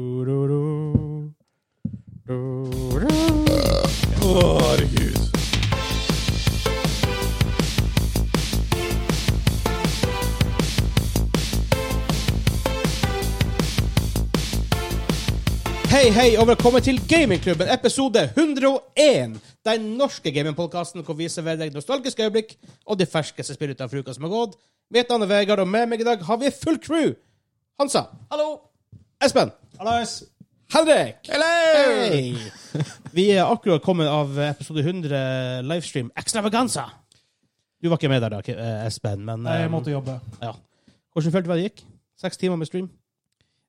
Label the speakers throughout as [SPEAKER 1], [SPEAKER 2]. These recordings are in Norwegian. [SPEAKER 1] Musikkquizen.
[SPEAKER 2] Å, herregud.
[SPEAKER 1] Hei, hei, og velkommen til Gamingklubben, episode 101. Den norske gamingpodkasten hvor vi serverer deg nostalgiske øyeblikk og de ferskeste spillene fra uka som har gått. Mitt navn er Vegard, og med meg i dag har vi full crew. Hansa. Hallo. Espen.
[SPEAKER 3] Hallais!
[SPEAKER 1] Henrik. Hei. Vi er akkurat kommet av episode 100 livestream Extravaganza. Du var ikke med der da, Ke- eh, Espen, men
[SPEAKER 3] Nei, Jeg
[SPEAKER 1] eh,
[SPEAKER 3] måtte jobbe.
[SPEAKER 1] Ja. Hvordan følte du hva det gikk? Seks timer med stream?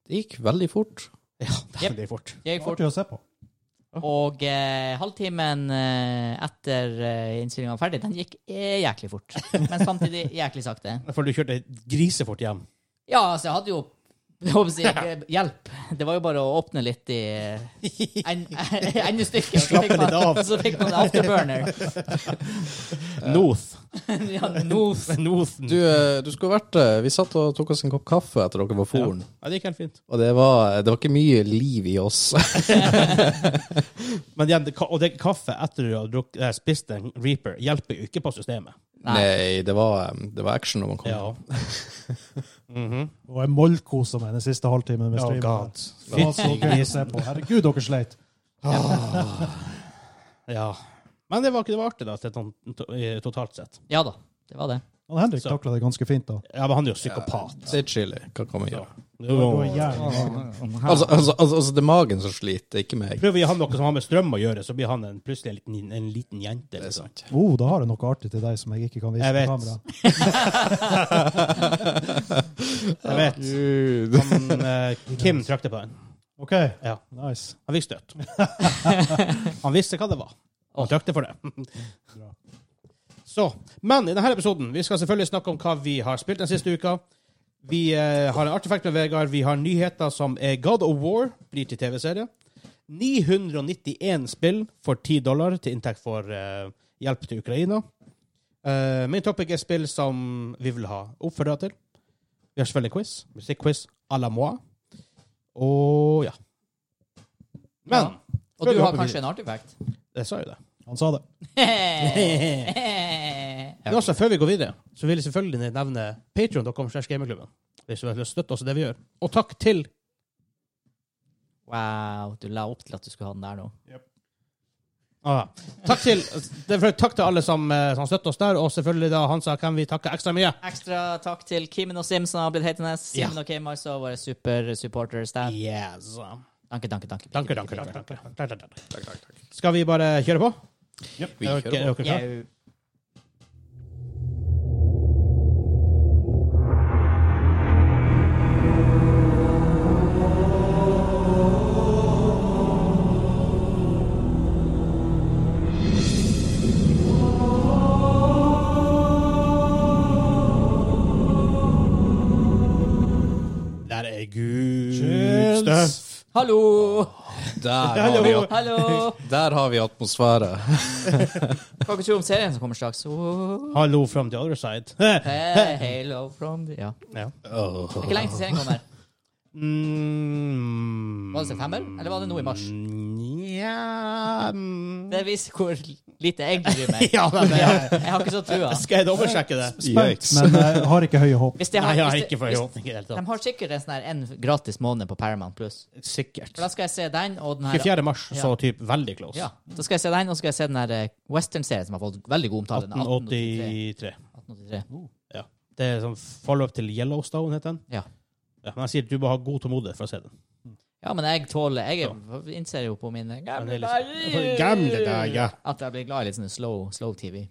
[SPEAKER 4] Det gikk veldig fort.
[SPEAKER 1] Ja,
[SPEAKER 5] Jep.
[SPEAKER 1] det er fort.
[SPEAKER 5] Det gikk fort.
[SPEAKER 3] Artig å se på.
[SPEAKER 5] Og eh, halvtimen eh, etter eh, innspillinga var ferdig, den gikk eh, jæklig fort. Men samtidig jæklig sakte.
[SPEAKER 1] For du kjørte grisefort hjem.
[SPEAKER 5] Ja, altså, jeg hadde jo jeg håper å si, eh, hjelp. Det var jo bare å åpne litt i eh, en- endestykket. og så
[SPEAKER 1] Slappe
[SPEAKER 5] fikk man-
[SPEAKER 1] litt av.
[SPEAKER 5] Så fikk man afterburner.
[SPEAKER 4] Eh,
[SPEAKER 1] Noth.
[SPEAKER 5] ja, nos.
[SPEAKER 1] Nothen.
[SPEAKER 4] Du, eh, du skulle vært eh, Vi satt og tok oss en kopp kaffe etter dere var foren,
[SPEAKER 1] Ja, det gikk helt fint.
[SPEAKER 4] og det var, det var ikke mye liv i oss.
[SPEAKER 1] Men igjen, det, ka- og det kaffe etter du har drukket, eh, spist en Reaper, hjelper jo ikke på systemet.
[SPEAKER 5] Nei.
[SPEAKER 4] Nei, det var, eh, det var action når man kom.
[SPEAKER 1] Ja. Mhm.
[SPEAKER 3] Og jeg målkosa meg den siste halvtimen med
[SPEAKER 1] Oh,
[SPEAKER 3] streamen.
[SPEAKER 1] God.
[SPEAKER 3] Det var så gøy å se på. Herregud, dere sleit.
[SPEAKER 1] Ja. Men det var ikke det var artig, da, til sånn to- i- totalt sett.
[SPEAKER 5] Ja da, det var det.
[SPEAKER 3] Han Henrik takla det ganske fint, da.
[SPEAKER 1] Ja, men han er jo psykopat.
[SPEAKER 4] Det er chili. Hva kan man gjøre?
[SPEAKER 3] Det var
[SPEAKER 1] Jo.
[SPEAKER 3] jævlig bra.
[SPEAKER 4] Altså, altså, altså, altså, det er magen som sliter, ikke meg.
[SPEAKER 1] Prøver vi å gi han noe som har med strøm å gjøre, så blir han en, plutselig en liten, en liten jente.
[SPEAKER 4] Det er
[SPEAKER 1] Liksom.
[SPEAKER 4] sant.
[SPEAKER 3] Oh, da har jeg noe artig til deg som jeg ikke kan vise
[SPEAKER 1] Jeg
[SPEAKER 3] på
[SPEAKER 1] vet.
[SPEAKER 3] kamera.
[SPEAKER 1] Jeg vet.
[SPEAKER 4] Gud.
[SPEAKER 1] Han, eh, Kim trakk det på den.
[SPEAKER 3] OK,
[SPEAKER 1] Ja.
[SPEAKER 3] nice.
[SPEAKER 1] Han fikk støt. Han visste hva det var. Han trakte for det.
[SPEAKER 3] Bra.
[SPEAKER 1] Så, Men i denne episoden vi skal selvfølgelig snakke om hva vi har spilt den siste uka. Vi eh, har en artefakt med Vegard. Vi har nyheter som er God of War blir til TV-serie. 991 spill for 10 dollar til inntekt for eh, hjelp til Ukraina. Eh, min topic er spill som vi vil ha oppfordra til. Vi har selvfølgelig quiz. Musikkquiz à la moi. Og ja. Men
[SPEAKER 5] Ja. Og du
[SPEAKER 1] vi
[SPEAKER 5] har
[SPEAKER 1] hoppe
[SPEAKER 5] kanskje en artifact?
[SPEAKER 1] jeg sa jo det.
[SPEAKER 3] Han sa det.
[SPEAKER 1] Men også, før vi går videre, så vil jeg selvfølgelig nevne patreon.com slash gamerklubben. Hvis du har lyst til å støtte oss i det vi gjør. Og takk til
[SPEAKER 5] Wow, du la opp til at du skulle ha den der nå.
[SPEAKER 1] ah, Takk til det er for- Takk til alle som, eh, som støtter oss der, og selvfølgelig da Hansa kan vi takke ekstra mye.
[SPEAKER 5] Ekstra takk til Kimen og Sim, som har blitt hetende. Simen
[SPEAKER 1] Ja.
[SPEAKER 5] og Kim, altså, våre supersupporters der.
[SPEAKER 1] Yes.
[SPEAKER 5] Danke, danke, danke.
[SPEAKER 1] Danke, danke, danke, danke. Takk, takk, takk. Skal vi bare kjøre på?
[SPEAKER 4] Vi
[SPEAKER 1] Er dere-
[SPEAKER 4] kjører
[SPEAKER 1] er dere klare?
[SPEAKER 5] Jau.
[SPEAKER 1] Der er good
[SPEAKER 3] Cheers.
[SPEAKER 1] stuff.
[SPEAKER 5] Hallo!
[SPEAKER 4] Der har vi, at-
[SPEAKER 5] Hallo!
[SPEAKER 4] der har vi atmosfære.
[SPEAKER 5] Hva ikke tro om serien som kommer straks? Oh.
[SPEAKER 1] Hallo from the other side.
[SPEAKER 5] Hey, hello from the... Ja. Det
[SPEAKER 1] Ja.
[SPEAKER 4] Åh.
[SPEAKER 5] er ikke lenge til serien kommer.
[SPEAKER 1] Mm.
[SPEAKER 5] Var det september, eller var det nå i mars?
[SPEAKER 1] Nja mm.
[SPEAKER 5] Det viser hvor lite jeg bryr meg.
[SPEAKER 1] Ja, men det er
[SPEAKER 5] Jeg har ikke så trua.
[SPEAKER 1] Skal jeg dobbeltsjekke det?
[SPEAKER 3] Spent,
[SPEAKER 4] Yikes.
[SPEAKER 3] men jeg har ikke høye håp.
[SPEAKER 5] Hvis de
[SPEAKER 1] Nei,
[SPEAKER 5] har,
[SPEAKER 1] jeg har
[SPEAKER 5] hvis de-
[SPEAKER 1] ikke
[SPEAKER 5] hvis-
[SPEAKER 1] forhåpning i det hele
[SPEAKER 5] De har sikkert en sånn her en gratis måned på Paramount Plus.
[SPEAKER 1] tatt. Sikkert.
[SPEAKER 5] For da skal jeg se den, og den her...
[SPEAKER 1] 24. mars, så
[SPEAKER 5] Ja.
[SPEAKER 1] typ veldig close.
[SPEAKER 5] Ja, da skal jeg se den, og så skal jeg se den her eh, western-serien som har fått veldig god omtale. den 1883.
[SPEAKER 1] 1883.
[SPEAKER 5] 1883.
[SPEAKER 1] Det er sånn follow-up til Yellowstone, heter den.
[SPEAKER 5] Ja.
[SPEAKER 1] Ja, men jeg sier at du må ha god tålmodighet for å se den.
[SPEAKER 5] Ja, men jeg tåler Jeg er- innser jo på mine
[SPEAKER 1] Men
[SPEAKER 5] gamle
[SPEAKER 1] det er
[SPEAKER 5] dager
[SPEAKER 1] Gamle dager.
[SPEAKER 5] At jeg blir glad i litt sånn slow, slow TV.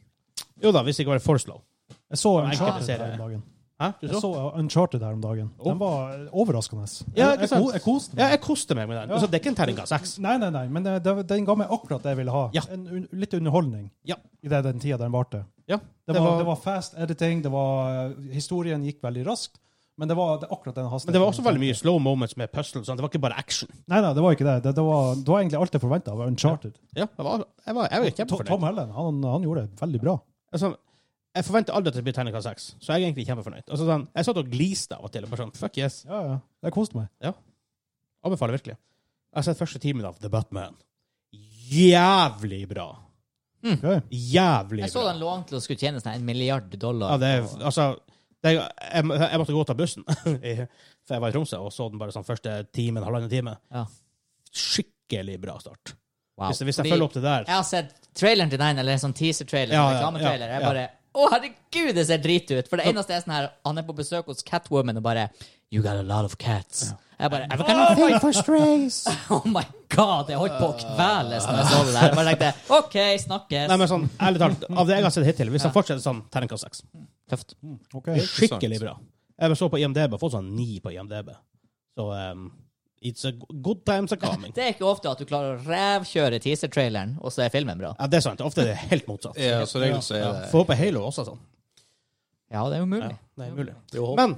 [SPEAKER 1] Jo da, hvis ikke var det for slow.
[SPEAKER 3] Jeg så
[SPEAKER 1] Nei, ikke
[SPEAKER 3] Uncharted
[SPEAKER 1] serie.
[SPEAKER 3] her om dagen.
[SPEAKER 1] Hæ? Du
[SPEAKER 3] Jeg
[SPEAKER 1] så?
[SPEAKER 3] så Uncharted her om dagen.
[SPEAKER 1] Oh.
[SPEAKER 3] Den var overraskende.
[SPEAKER 1] Ja, ikke
[SPEAKER 3] jeg,
[SPEAKER 1] sant?
[SPEAKER 3] ko- jeg koste
[SPEAKER 1] Ja,
[SPEAKER 3] meg.
[SPEAKER 1] jeg koste meg med den. Altså, det er ikke en terning av seks.
[SPEAKER 3] Nei, nei, nei, men det- det- den ga meg akkurat det jeg ville ha.
[SPEAKER 1] Ja.
[SPEAKER 3] En, un- litt underholdning
[SPEAKER 1] Ja.
[SPEAKER 3] i det, den tida den varte.
[SPEAKER 1] Ja,
[SPEAKER 3] Det var, det var fast editing, det var, eh, historien gikk veldig raskt, men det var det, er akkurat den hastigheten.
[SPEAKER 1] men det var også veldig mye slow moments med puzzles. sånn. Det var ikke bare action.
[SPEAKER 3] Nei, nei, det var ikke det. Det, det, var, det var egentlig alt jeg forventa av Uncharted.
[SPEAKER 1] Ja, jeg var, jeg var, jeg
[SPEAKER 3] To-
[SPEAKER 1] var
[SPEAKER 3] Tom
[SPEAKER 1] kjempefornøyd.
[SPEAKER 3] Hellen han, han gjorde det veldig bra.
[SPEAKER 1] Altså, Jeg forventer aldri at det blir terningkast seks, så jeg er egentlig kjempefornøyd. Altså, sånn, jeg satt og gliste av og til. og Bare sånn, fuck yes.
[SPEAKER 3] Ja, ja. Jeg koste meg.
[SPEAKER 1] Anbefaler virkelig. Jeg har sett første timen av The Batman. Jævlig bra. Mm.
[SPEAKER 3] Gøy.
[SPEAKER 1] Jævlig bra.
[SPEAKER 5] Jeg så den lå an til å skulle tjene sånn en milliard dollar.
[SPEAKER 1] Ja, det er, altså, det er, jeg, jeg måtte gå og ta bussen, i- for jeg var i Tromsø, og så den bare sånn første timen, halvannen time.
[SPEAKER 5] Ja.
[SPEAKER 1] Skikkelig bra start.
[SPEAKER 5] Wow.
[SPEAKER 1] Hvis, hvis jeg
[SPEAKER 5] Fordi
[SPEAKER 1] følger opp det der.
[SPEAKER 5] Jeg har sett traileren til den, eller en sånn teaser-trailer,
[SPEAKER 1] Ja,
[SPEAKER 5] ja,
[SPEAKER 1] ja,
[SPEAKER 5] reklametrailer.
[SPEAKER 1] ja, ja.
[SPEAKER 5] Jeg bare Å, herregud, det ser drit ut! For det eneste er sånn her Han er på besøk hos Catwoman og bare You got a lot of cats. Jeg bare «Åh,
[SPEAKER 1] Fight for strays!
[SPEAKER 5] Oh my god! Jeg holdt på å kveles når jeg så det der. Jeg bare tenkte OK, snakkes.
[SPEAKER 1] Nei, men sånn, ærlig talt, av det jeg har sett hittil, hvis jeg fortsetter sånn, terningkast seks.
[SPEAKER 5] Tøft.
[SPEAKER 3] Ok.
[SPEAKER 1] Skikkelig bra. Jeg så på IMDb, og fått sånn ni på IMDb. Så um, it's a good times are coming.
[SPEAKER 5] Det er ikke ofte at du klarer å rævkjøre teaser-traileren, og så er filmen bra.
[SPEAKER 1] Ja, det er sant. Ofte er det helt motsatt.
[SPEAKER 4] Ja, som regel så er det
[SPEAKER 1] Får håpe Halo også er sånn.
[SPEAKER 5] Ja, det er jo
[SPEAKER 1] Ja,
[SPEAKER 5] mulig.
[SPEAKER 1] det er mulig.
[SPEAKER 4] Jo, håp.
[SPEAKER 1] Men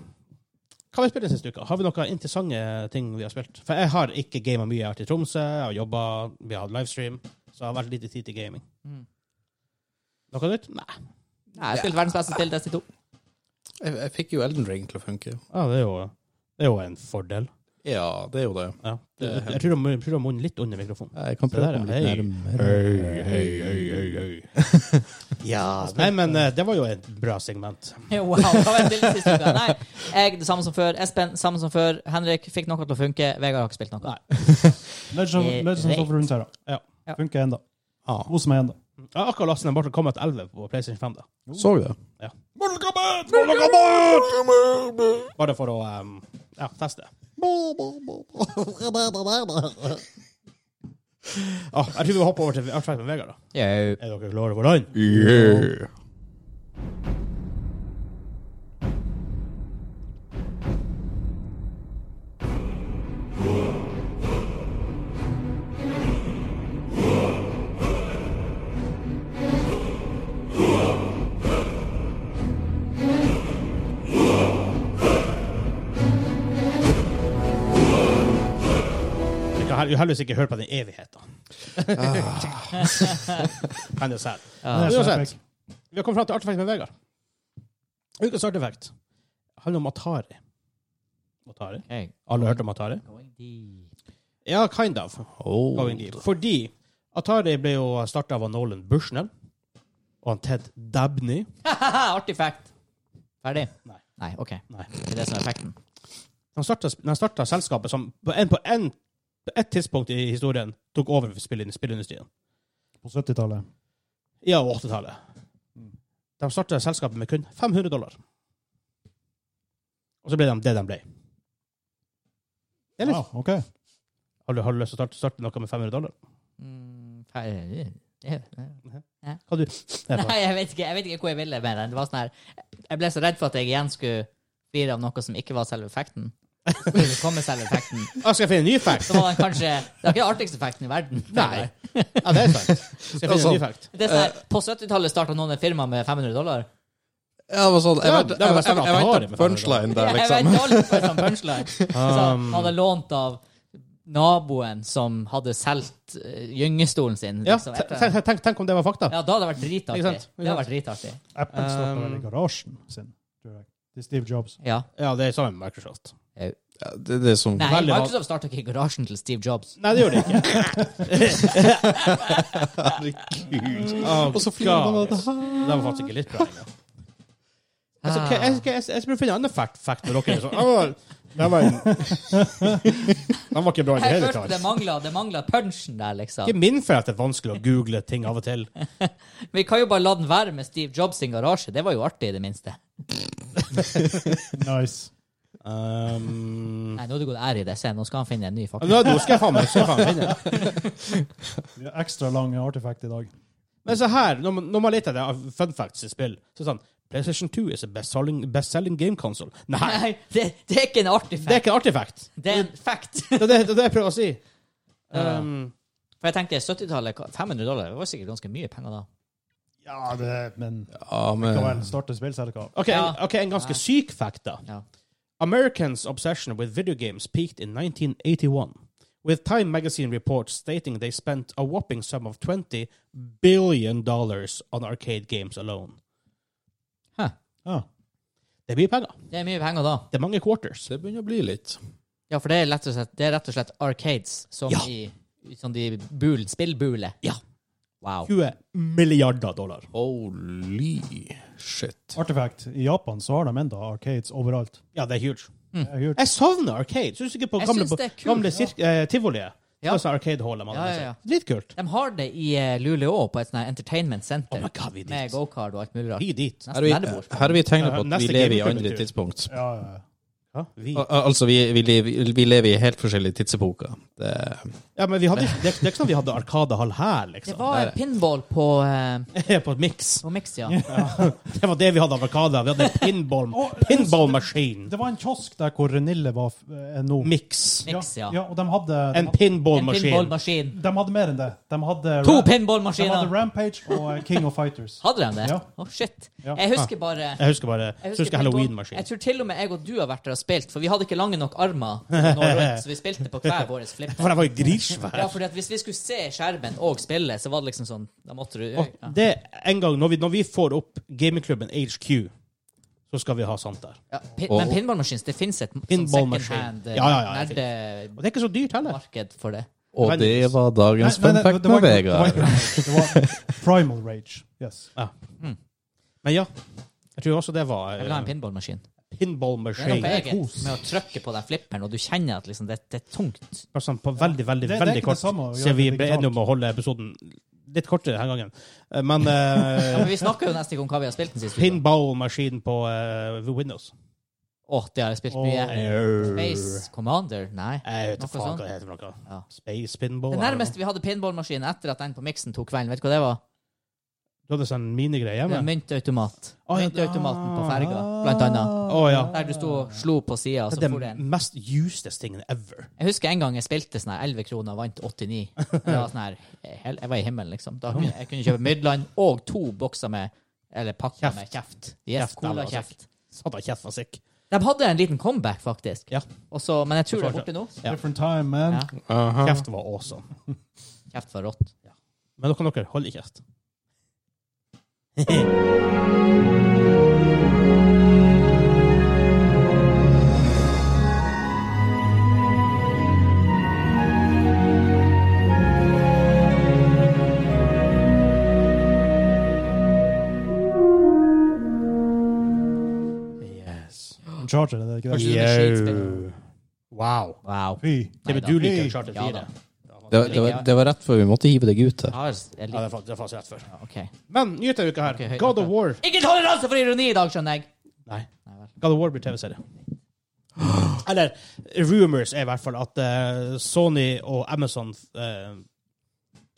[SPEAKER 1] hva har vi spilt den siste uka? Har vi noen interessante ting vi har spilt? For jeg har ikke gama mye. Jeg har vært i Tromsø, jeg har jobba, vi har hatt livestream. Så jeg har vært lite tid til gaming.
[SPEAKER 5] Mm.
[SPEAKER 1] Noe nytt? Nei.
[SPEAKER 5] Nei, jeg spilte verdens beste spill, Destiny 2.
[SPEAKER 4] jeg, jeg fikk jo Elden Ring til å funke.
[SPEAKER 1] Ja, det, er jo, det er jo en fordel.
[SPEAKER 4] Ja, det er jo det.
[SPEAKER 1] Ja. Jeg tror du må- jeg tror du har munnen litt under mikrofonen.
[SPEAKER 4] Jeg kan
[SPEAKER 1] Det
[SPEAKER 4] prøve å
[SPEAKER 1] der,
[SPEAKER 4] komme litt
[SPEAKER 1] hei.
[SPEAKER 4] nærmere.
[SPEAKER 1] Ja, Nei, men eh, det var jo et bra segment.
[SPEAKER 5] Wow, hva var det bildet sist uke? Nei, jeg det samme som før. Espen samme som før. Henrik fikk noe til å funke. Vegard har ikke spilt noe.
[SPEAKER 3] Legends of,
[SPEAKER 5] Eh,
[SPEAKER 3] Legends of
[SPEAKER 5] rett.
[SPEAKER 3] Runeterra.
[SPEAKER 1] Ja.
[SPEAKER 5] Ja.
[SPEAKER 3] Funker ennå.
[SPEAKER 4] Ah.
[SPEAKER 3] Hos meg ennå.
[SPEAKER 1] Jeg har akkurat lastet ned Mortal Kombat 11 på PlayStation 5. da.
[SPEAKER 4] Så det.
[SPEAKER 1] Bare for å em, ja, teste. Ah, jeg tror vi hopper over til Artfakt med Vegard. da.
[SPEAKER 5] Yo.
[SPEAKER 1] Er dere klare for den?
[SPEAKER 4] Yeah.
[SPEAKER 1] Vi kan hel- heldigvis ikke høre på den evigheten. Kan jo selv.
[SPEAKER 3] Det er så
[SPEAKER 1] Uansett.
[SPEAKER 3] epic.
[SPEAKER 1] Vi har kommet fram til artefakt med Vegard. Ukens artefakt handler om Atari. Atari?
[SPEAKER 5] Okay.
[SPEAKER 1] Alle har hørt om Atari?
[SPEAKER 5] Going deep.
[SPEAKER 1] Ja, kind of. Going
[SPEAKER 4] Oh.
[SPEAKER 1] deep. Fordi Atari ble jo starta av Nolan Bushnell og han Ted Dabney.
[SPEAKER 5] Artig fact. Ferdig?
[SPEAKER 1] Nei.
[SPEAKER 5] Nei, OK.
[SPEAKER 1] Nei.
[SPEAKER 5] Det er det som er effekten.
[SPEAKER 1] Han starta, han starta selskapet som på en, på en på ett tidspunkt i historien tok over spillin- spillindustrien.
[SPEAKER 3] På 70-tallet.
[SPEAKER 1] Ja, og 80-tallet. De starta selskapet med kun 500 dollar. Og så ble de det de ble. Eller?
[SPEAKER 3] Ah, ok.
[SPEAKER 1] Har du, har du lyst til å starte, starte noe med 500 dollar?
[SPEAKER 5] Mm, ferdig.
[SPEAKER 1] Hva du, det er bra.
[SPEAKER 5] Nei, jeg vet, ikke, jeg vet ikke hvor jeg ville med den. Det var sånn her Jeg ble så redd for at jeg igjen skulle flire av noe som ikke var selve effekten. Skulle det komme selve effekten,
[SPEAKER 1] ah, skal jeg finne en ny fact?
[SPEAKER 5] så var den kanskje Det var ikke den artigste effekten i verden.
[SPEAKER 1] Nei. Eh. Ja, det er sant. Skal jeg finne en ny fact?
[SPEAKER 5] Det er sånn her, på 70-tallet starta noen et firma med 500 dollar.
[SPEAKER 4] Ja, det var sånn, jeg
[SPEAKER 1] Ja, det
[SPEAKER 4] vet,
[SPEAKER 1] var
[SPEAKER 4] jeg, jeg,
[SPEAKER 1] sånn at
[SPEAKER 4] jeg
[SPEAKER 1] han har
[SPEAKER 4] vet
[SPEAKER 1] det med
[SPEAKER 4] at punchline der,
[SPEAKER 5] Jeg
[SPEAKER 4] liksom.
[SPEAKER 5] vet aldri på en sånn punchline. Så
[SPEAKER 1] Um,
[SPEAKER 5] han hadde lånt av naboen som hadde solgt eh, gyngestolen sin.
[SPEAKER 1] Ja,
[SPEAKER 5] liksom, etter-
[SPEAKER 1] tenk, tenk, tenk om det var fakta.
[SPEAKER 5] ja, da hadde det vært dritartig.
[SPEAKER 1] Ikke sant? Ikke
[SPEAKER 5] Det hadde
[SPEAKER 1] sant?
[SPEAKER 5] vært dritartig.
[SPEAKER 3] Apple starta vel
[SPEAKER 1] Um,
[SPEAKER 3] i garasjen sin, tror jeg. Til Steve Jobs.
[SPEAKER 5] Ja.
[SPEAKER 1] Ja, det er sammen med Microsoft.
[SPEAKER 4] Ja, det, det er som
[SPEAKER 5] Nei,
[SPEAKER 1] Veldig van-
[SPEAKER 5] Microsoft starta ikke i garasjen til Steve Jobs.
[SPEAKER 1] Nei, det gjør det ikke.
[SPEAKER 4] Herregud.
[SPEAKER 1] Oh,
[SPEAKER 4] Og så flirer man av det her.
[SPEAKER 1] Det var faktisk ikke litt bra engang. Altså, ok, jeg, jeg, jeg, jeg burde finne en annen fact, fact når dere er sånn «Åh, Den var, en, den var ikke bra i det
[SPEAKER 5] Jeg
[SPEAKER 1] hele
[SPEAKER 5] følte
[SPEAKER 1] tatt.
[SPEAKER 5] det mangla, det mangla punchen der,
[SPEAKER 1] Ikke
[SPEAKER 5] liksom.
[SPEAKER 1] min feil at det er vanskelig å google ting av og til.
[SPEAKER 5] Vi kan jo bare la den være med Steve Jobs sin garasje. Det var jo artig, i det minste.
[SPEAKER 3] Nice.
[SPEAKER 1] Um,
[SPEAKER 5] Nei, nå har det gått ær i det. Se, nå skal han finne en ny, faktisk.
[SPEAKER 1] nå nå skal jeg faen meg skal jeg faen meg finne det.
[SPEAKER 3] Vi har Ekstra lang artifact i dag.
[SPEAKER 1] Men så her, når man, når man leter etter fun facts i spill, så er det sånn PlayStation 2 is a best-selling best selling game console. Nei,
[SPEAKER 5] Nei, det, det er ikke en artig
[SPEAKER 1] det er
[SPEAKER 5] fact.
[SPEAKER 1] ikke en artifact.
[SPEAKER 5] Det er en fact.
[SPEAKER 1] Det er det, det, er det jeg prøver å si. Um,
[SPEAKER 5] For jeg tenker 70-tallet, hva- 500 dollar, det var sikkert ganske mye penger da.
[SPEAKER 3] Ja, det Men
[SPEAKER 4] Ja, men
[SPEAKER 3] hva vel, starte spillselskap.
[SPEAKER 1] ok, en, ok, en ganske syk fact, da.
[SPEAKER 5] Ja.
[SPEAKER 1] Americans' obsession with video games peaked in 1981, with Time magazine reports stating they spent a whopping sum of $20 billion on arcade games alone.
[SPEAKER 3] Ja.
[SPEAKER 1] Det blir penger.
[SPEAKER 5] Det er mye penger da.
[SPEAKER 1] Det er mange quarters.
[SPEAKER 4] Det begynner å bli litt.
[SPEAKER 5] Ja, for det er, lett og slett, det er rett og slett arcades som
[SPEAKER 1] Ja.
[SPEAKER 5] i som de bul, spillbuler.
[SPEAKER 1] Ja.
[SPEAKER 5] Wow.
[SPEAKER 1] 20 milliarder dollar.
[SPEAKER 4] Holy shit.
[SPEAKER 3] Artifact. I Japan så har de enda arcades overalt.
[SPEAKER 1] Ja, det er huge.
[SPEAKER 3] Det er kult.
[SPEAKER 1] Jeg savner arcade. Syns du ikke på
[SPEAKER 5] Jeg
[SPEAKER 1] gamle,
[SPEAKER 5] synes det er kult,
[SPEAKER 1] gamle
[SPEAKER 5] ja.
[SPEAKER 1] sirk- eh, tivoliet?
[SPEAKER 5] Ja.
[SPEAKER 1] Altså arcade-hallet man
[SPEAKER 5] Ja,
[SPEAKER 1] har
[SPEAKER 5] ja,
[SPEAKER 1] med
[SPEAKER 5] ja.
[SPEAKER 1] seg. Litt kult.
[SPEAKER 5] De har det i eh, Luleå, på et sånt her entertainment
[SPEAKER 1] Oh
[SPEAKER 5] center.
[SPEAKER 1] my god, vi er
[SPEAKER 5] med
[SPEAKER 1] dit.
[SPEAKER 5] gokart og alt mulig rart.
[SPEAKER 1] Vi er dit.
[SPEAKER 5] Nesten
[SPEAKER 4] Her er vi,
[SPEAKER 5] verdebords.
[SPEAKER 4] her er vi tegner på
[SPEAKER 1] Ja,
[SPEAKER 4] at vi
[SPEAKER 1] neste
[SPEAKER 4] lever i
[SPEAKER 1] gameklubben,
[SPEAKER 4] andre
[SPEAKER 1] tror jeg.
[SPEAKER 4] tidspunkt.
[SPEAKER 3] Ja, ja, ja.
[SPEAKER 1] Ja, vi.
[SPEAKER 4] Al- al- Altså, vi, vi, lever, vi lever i helt forskjellige tidsepoker. Det,
[SPEAKER 1] ja men vi hadde, det, det er ikke sånn vi hadde Arkadehall her,
[SPEAKER 5] Det
[SPEAKER 1] liksom.
[SPEAKER 5] var eh, pinball på, eh,
[SPEAKER 1] på et mix.
[SPEAKER 5] på Mix, ja.
[SPEAKER 1] Det var det vi hadde av Arkader. Vi hadde en pinball, pinball machine.
[SPEAKER 3] Det var en kiosk der hvor Renille var f- er nå.
[SPEAKER 1] Mix.
[SPEAKER 5] Mix, ja.
[SPEAKER 3] ja. Og de hadde, de,
[SPEAKER 1] En
[SPEAKER 3] hadde,
[SPEAKER 1] pinball
[SPEAKER 5] En
[SPEAKER 1] machine.
[SPEAKER 5] pinballmaskin.
[SPEAKER 3] de hadde mer enn det. De hadde,
[SPEAKER 5] To
[SPEAKER 3] Ra- de hadde
[SPEAKER 5] pinballmaskiner!
[SPEAKER 3] Rampage og eh, King of Fighters.
[SPEAKER 5] Hadde de det? Å,
[SPEAKER 3] Ja.
[SPEAKER 5] shit.
[SPEAKER 3] Ja.
[SPEAKER 5] Jeg husker bare
[SPEAKER 1] Jeg husker bare jeg husker
[SPEAKER 5] Jeg
[SPEAKER 1] Halloween-maskin.
[SPEAKER 5] tror til og med jeg og du har vært der og spilt, for vi hadde ikke lange nok armer, til å nå rundt, så vi spilte på hver vår flip.
[SPEAKER 1] For jeg var jo
[SPEAKER 5] Ja,
[SPEAKER 1] dritsvær.
[SPEAKER 5] fordi at Hvis vi skulle se skjermen og spille, så var det liksom sånn Da måtte du
[SPEAKER 1] Og
[SPEAKER 5] ja.
[SPEAKER 1] det en gang, når vi, når vi får opp gamingklubben HQ, så skal vi ha sånt der.
[SPEAKER 5] Ja, pin,
[SPEAKER 4] Og-
[SPEAKER 5] Men pinballmaskins, det fins et
[SPEAKER 1] Pinballmaskin. Ja, ja, ja, det Og
[SPEAKER 5] secondhand-nerdemarked
[SPEAKER 1] det er ikke så dyrt heller.
[SPEAKER 5] for det.
[SPEAKER 4] og det var dagens
[SPEAKER 3] Nei, nei,
[SPEAKER 4] fun
[SPEAKER 3] nei,
[SPEAKER 4] fact
[SPEAKER 3] det var
[SPEAKER 4] med
[SPEAKER 3] ikke-
[SPEAKER 4] Vegard.
[SPEAKER 3] Det var, ikke- det var Primal Rage. Yes.
[SPEAKER 1] Ja. Men ja, jeg tror også det var
[SPEAKER 5] Jeg vil ha en
[SPEAKER 1] eh,
[SPEAKER 5] pinballmaskin.
[SPEAKER 1] pinball
[SPEAKER 5] Det er
[SPEAKER 1] machine.
[SPEAKER 5] noe eget med å trykke på den flipperen, og du kjenner at liksom det, det er tungt.
[SPEAKER 1] Bare sånn på veldig, veldig,
[SPEAKER 3] Det- det er
[SPEAKER 1] veldig
[SPEAKER 3] ikke
[SPEAKER 1] kort.
[SPEAKER 3] det samme å gjøre
[SPEAKER 1] Siden vi
[SPEAKER 3] det
[SPEAKER 1] ble
[SPEAKER 3] digitalt.
[SPEAKER 1] enige om å holde episoden litt kortere denne gangen. Eh, Men eh,
[SPEAKER 5] Ja, men vi snakker jo nesten ikke om hva vi har spilt den siste uka.
[SPEAKER 1] pinball-maskin på eh, Windows.
[SPEAKER 5] Å, det har jeg spilt mye. Space Commander? Nei.
[SPEAKER 1] Jeg vet
[SPEAKER 5] Noe
[SPEAKER 1] ikke faen
[SPEAKER 5] sånt.
[SPEAKER 1] hva det heter. for noe.
[SPEAKER 5] Ja.
[SPEAKER 1] Space pinball?
[SPEAKER 5] Det
[SPEAKER 1] eller
[SPEAKER 5] nærmeste vi hadde pinballmaskin etter at den på miksen tok kvelden, vet du hva det var?
[SPEAKER 1] noe. Du hadde sånn minigreie
[SPEAKER 5] Det er
[SPEAKER 1] hjemme?
[SPEAKER 5] myntautomat.
[SPEAKER 1] Å, ja.
[SPEAKER 5] Myntautomaten på ferga,
[SPEAKER 1] ah.
[SPEAKER 5] blant annet.
[SPEAKER 1] Å ja.
[SPEAKER 5] Der du sto og slo på sida, så
[SPEAKER 1] Det er
[SPEAKER 5] for det en
[SPEAKER 1] den mest useless tingen ever.
[SPEAKER 5] Jeg husker en gang jeg spilte sånn her 11 kroner og vant 89. Det var sånn her, hel- jeg var i himmelen, liksom. Da kunne jeg kunne kjøpe Midland og to bokser med Eller pakker
[SPEAKER 1] Kjeft.
[SPEAKER 5] med kjeft. Yes,
[SPEAKER 1] Kjeft, eller altså.
[SPEAKER 5] Cola-kjeft.
[SPEAKER 1] Satt av kjeft var sikk.
[SPEAKER 5] De hadde en liten comeback, faktisk.
[SPEAKER 1] Ja.
[SPEAKER 5] Og så- men jeg tror det er
[SPEAKER 1] Forsvarte.
[SPEAKER 5] borte nå.
[SPEAKER 1] Ja.
[SPEAKER 3] Different time, man.
[SPEAKER 5] Ja.
[SPEAKER 4] Aha.
[SPEAKER 1] Kjeft var awesome.
[SPEAKER 5] Kjeft var rått.
[SPEAKER 1] Men da kan dere holde kjeft. Yes.
[SPEAKER 3] Charger, er det ikke det?
[SPEAKER 5] Første skytespill.
[SPEAKER 1] Wow.
[SPEAKER 5] Wow.
[SPEAKER 3] Fy.
[SPEAKER 1] Det
[SPEAKER 5] Nei
[SPEAKER 1] vil
[SPEAKER 5] da.
[SPEAKER 1] du like, Charter 4.
[SPEAKER 5] Ja da.
[SPEAKER 4] Det, var- det, var- det var rett før vi måtte hive deg ut
[SPEAKER 5] Jeg
[SPEAKER 4] her.
[SPEAKER 5] har- jeg
[SPEAKER 1] Ja, det er
[SPEAKER 5] liker-
[SPEAKER 1] fa- det er faktisk rett før.
[SPEAKER 5] OK.
[SPEAKER 1] Men nyhet denne uka her.
[SPEAKER 5] Ok, høyt
[SPEAKER 1] God
[SPEAKER 5] oppe.
[SPEAKER 1] of War.
[SPEAKER 5] Ikke toleranse for ironi i dag, skjønner jeg!
[SPEAKER 1] Nei.
[SPEAKER 5] Nei vel.
[SPEAKER 1] God of War blir TV-serie. Eller rumors er i hvert fall at eh, Sony og Amazon eh,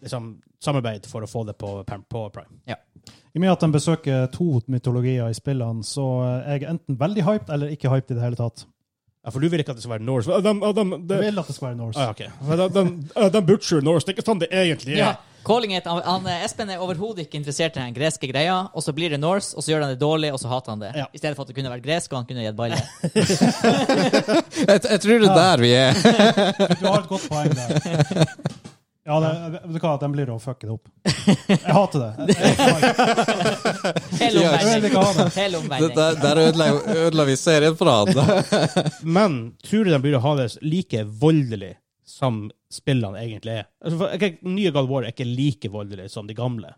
[SPEAKER 1] liksom samarbeider for å få det på, Pam- på Prime.
[SPEAKER 3] I og med at de besøker to mytologier i spillene, så er jeg enten veldig hyped eller ikke hyped i det hele tatt.
[SPEAKER 1] Ja, for du vil ikke at det skal være Norse? Ah, dem- ah, dem-
[SPEAKER 3] Jeg
[SPEAKER 1] det-
[SPEAKER 3] vil at det skal være Norse.
[SPEAKER 1] Ah, ok. Men De, de, ah, de butcher Norse, det er ikke sånn det egentlig
[SPEAKER 5] Ja.
[SPEAKER 1] er.
[SPEAKER 5] Calling it, han, han, eh, Espen er overhodet ikke interessert i den greske greia, og så blir det Norse, og så gjør han det dårlig, og så hater han det.
[SPEAKER 1] Ja.
[SPEAKER 5] I stedet for at det kunne vært gresk, og han kunne gitt balle.
[SPEAKER 4] Jeg, jeg tror det er der vi er.
[SPEAKER 3] Du har et godt poeng der. Ja, det, vet du hva, de blir å fucke det opp. Jeg hater det. Jeg, jeg,
[SPEAKER 5] Hele
[SPEAKER 4] Ja,
[SPEAKER 3] jeg vil
[SPEAKER 5] omvending.
[SPEAKER 3] ikke ha det.
[SPEAKER 5] Hele
[SPEAKER 4] Det,
[SPEAKER 5] omvending.
[SPEAKER 4] der der ødela, ødela vi serien for han.
[SPEAKER 1] Men tror du de burde ha det like voldelig som spillene egentlig er? Altså, for, ok, nye God of War er ikke like voldelig som de gamle.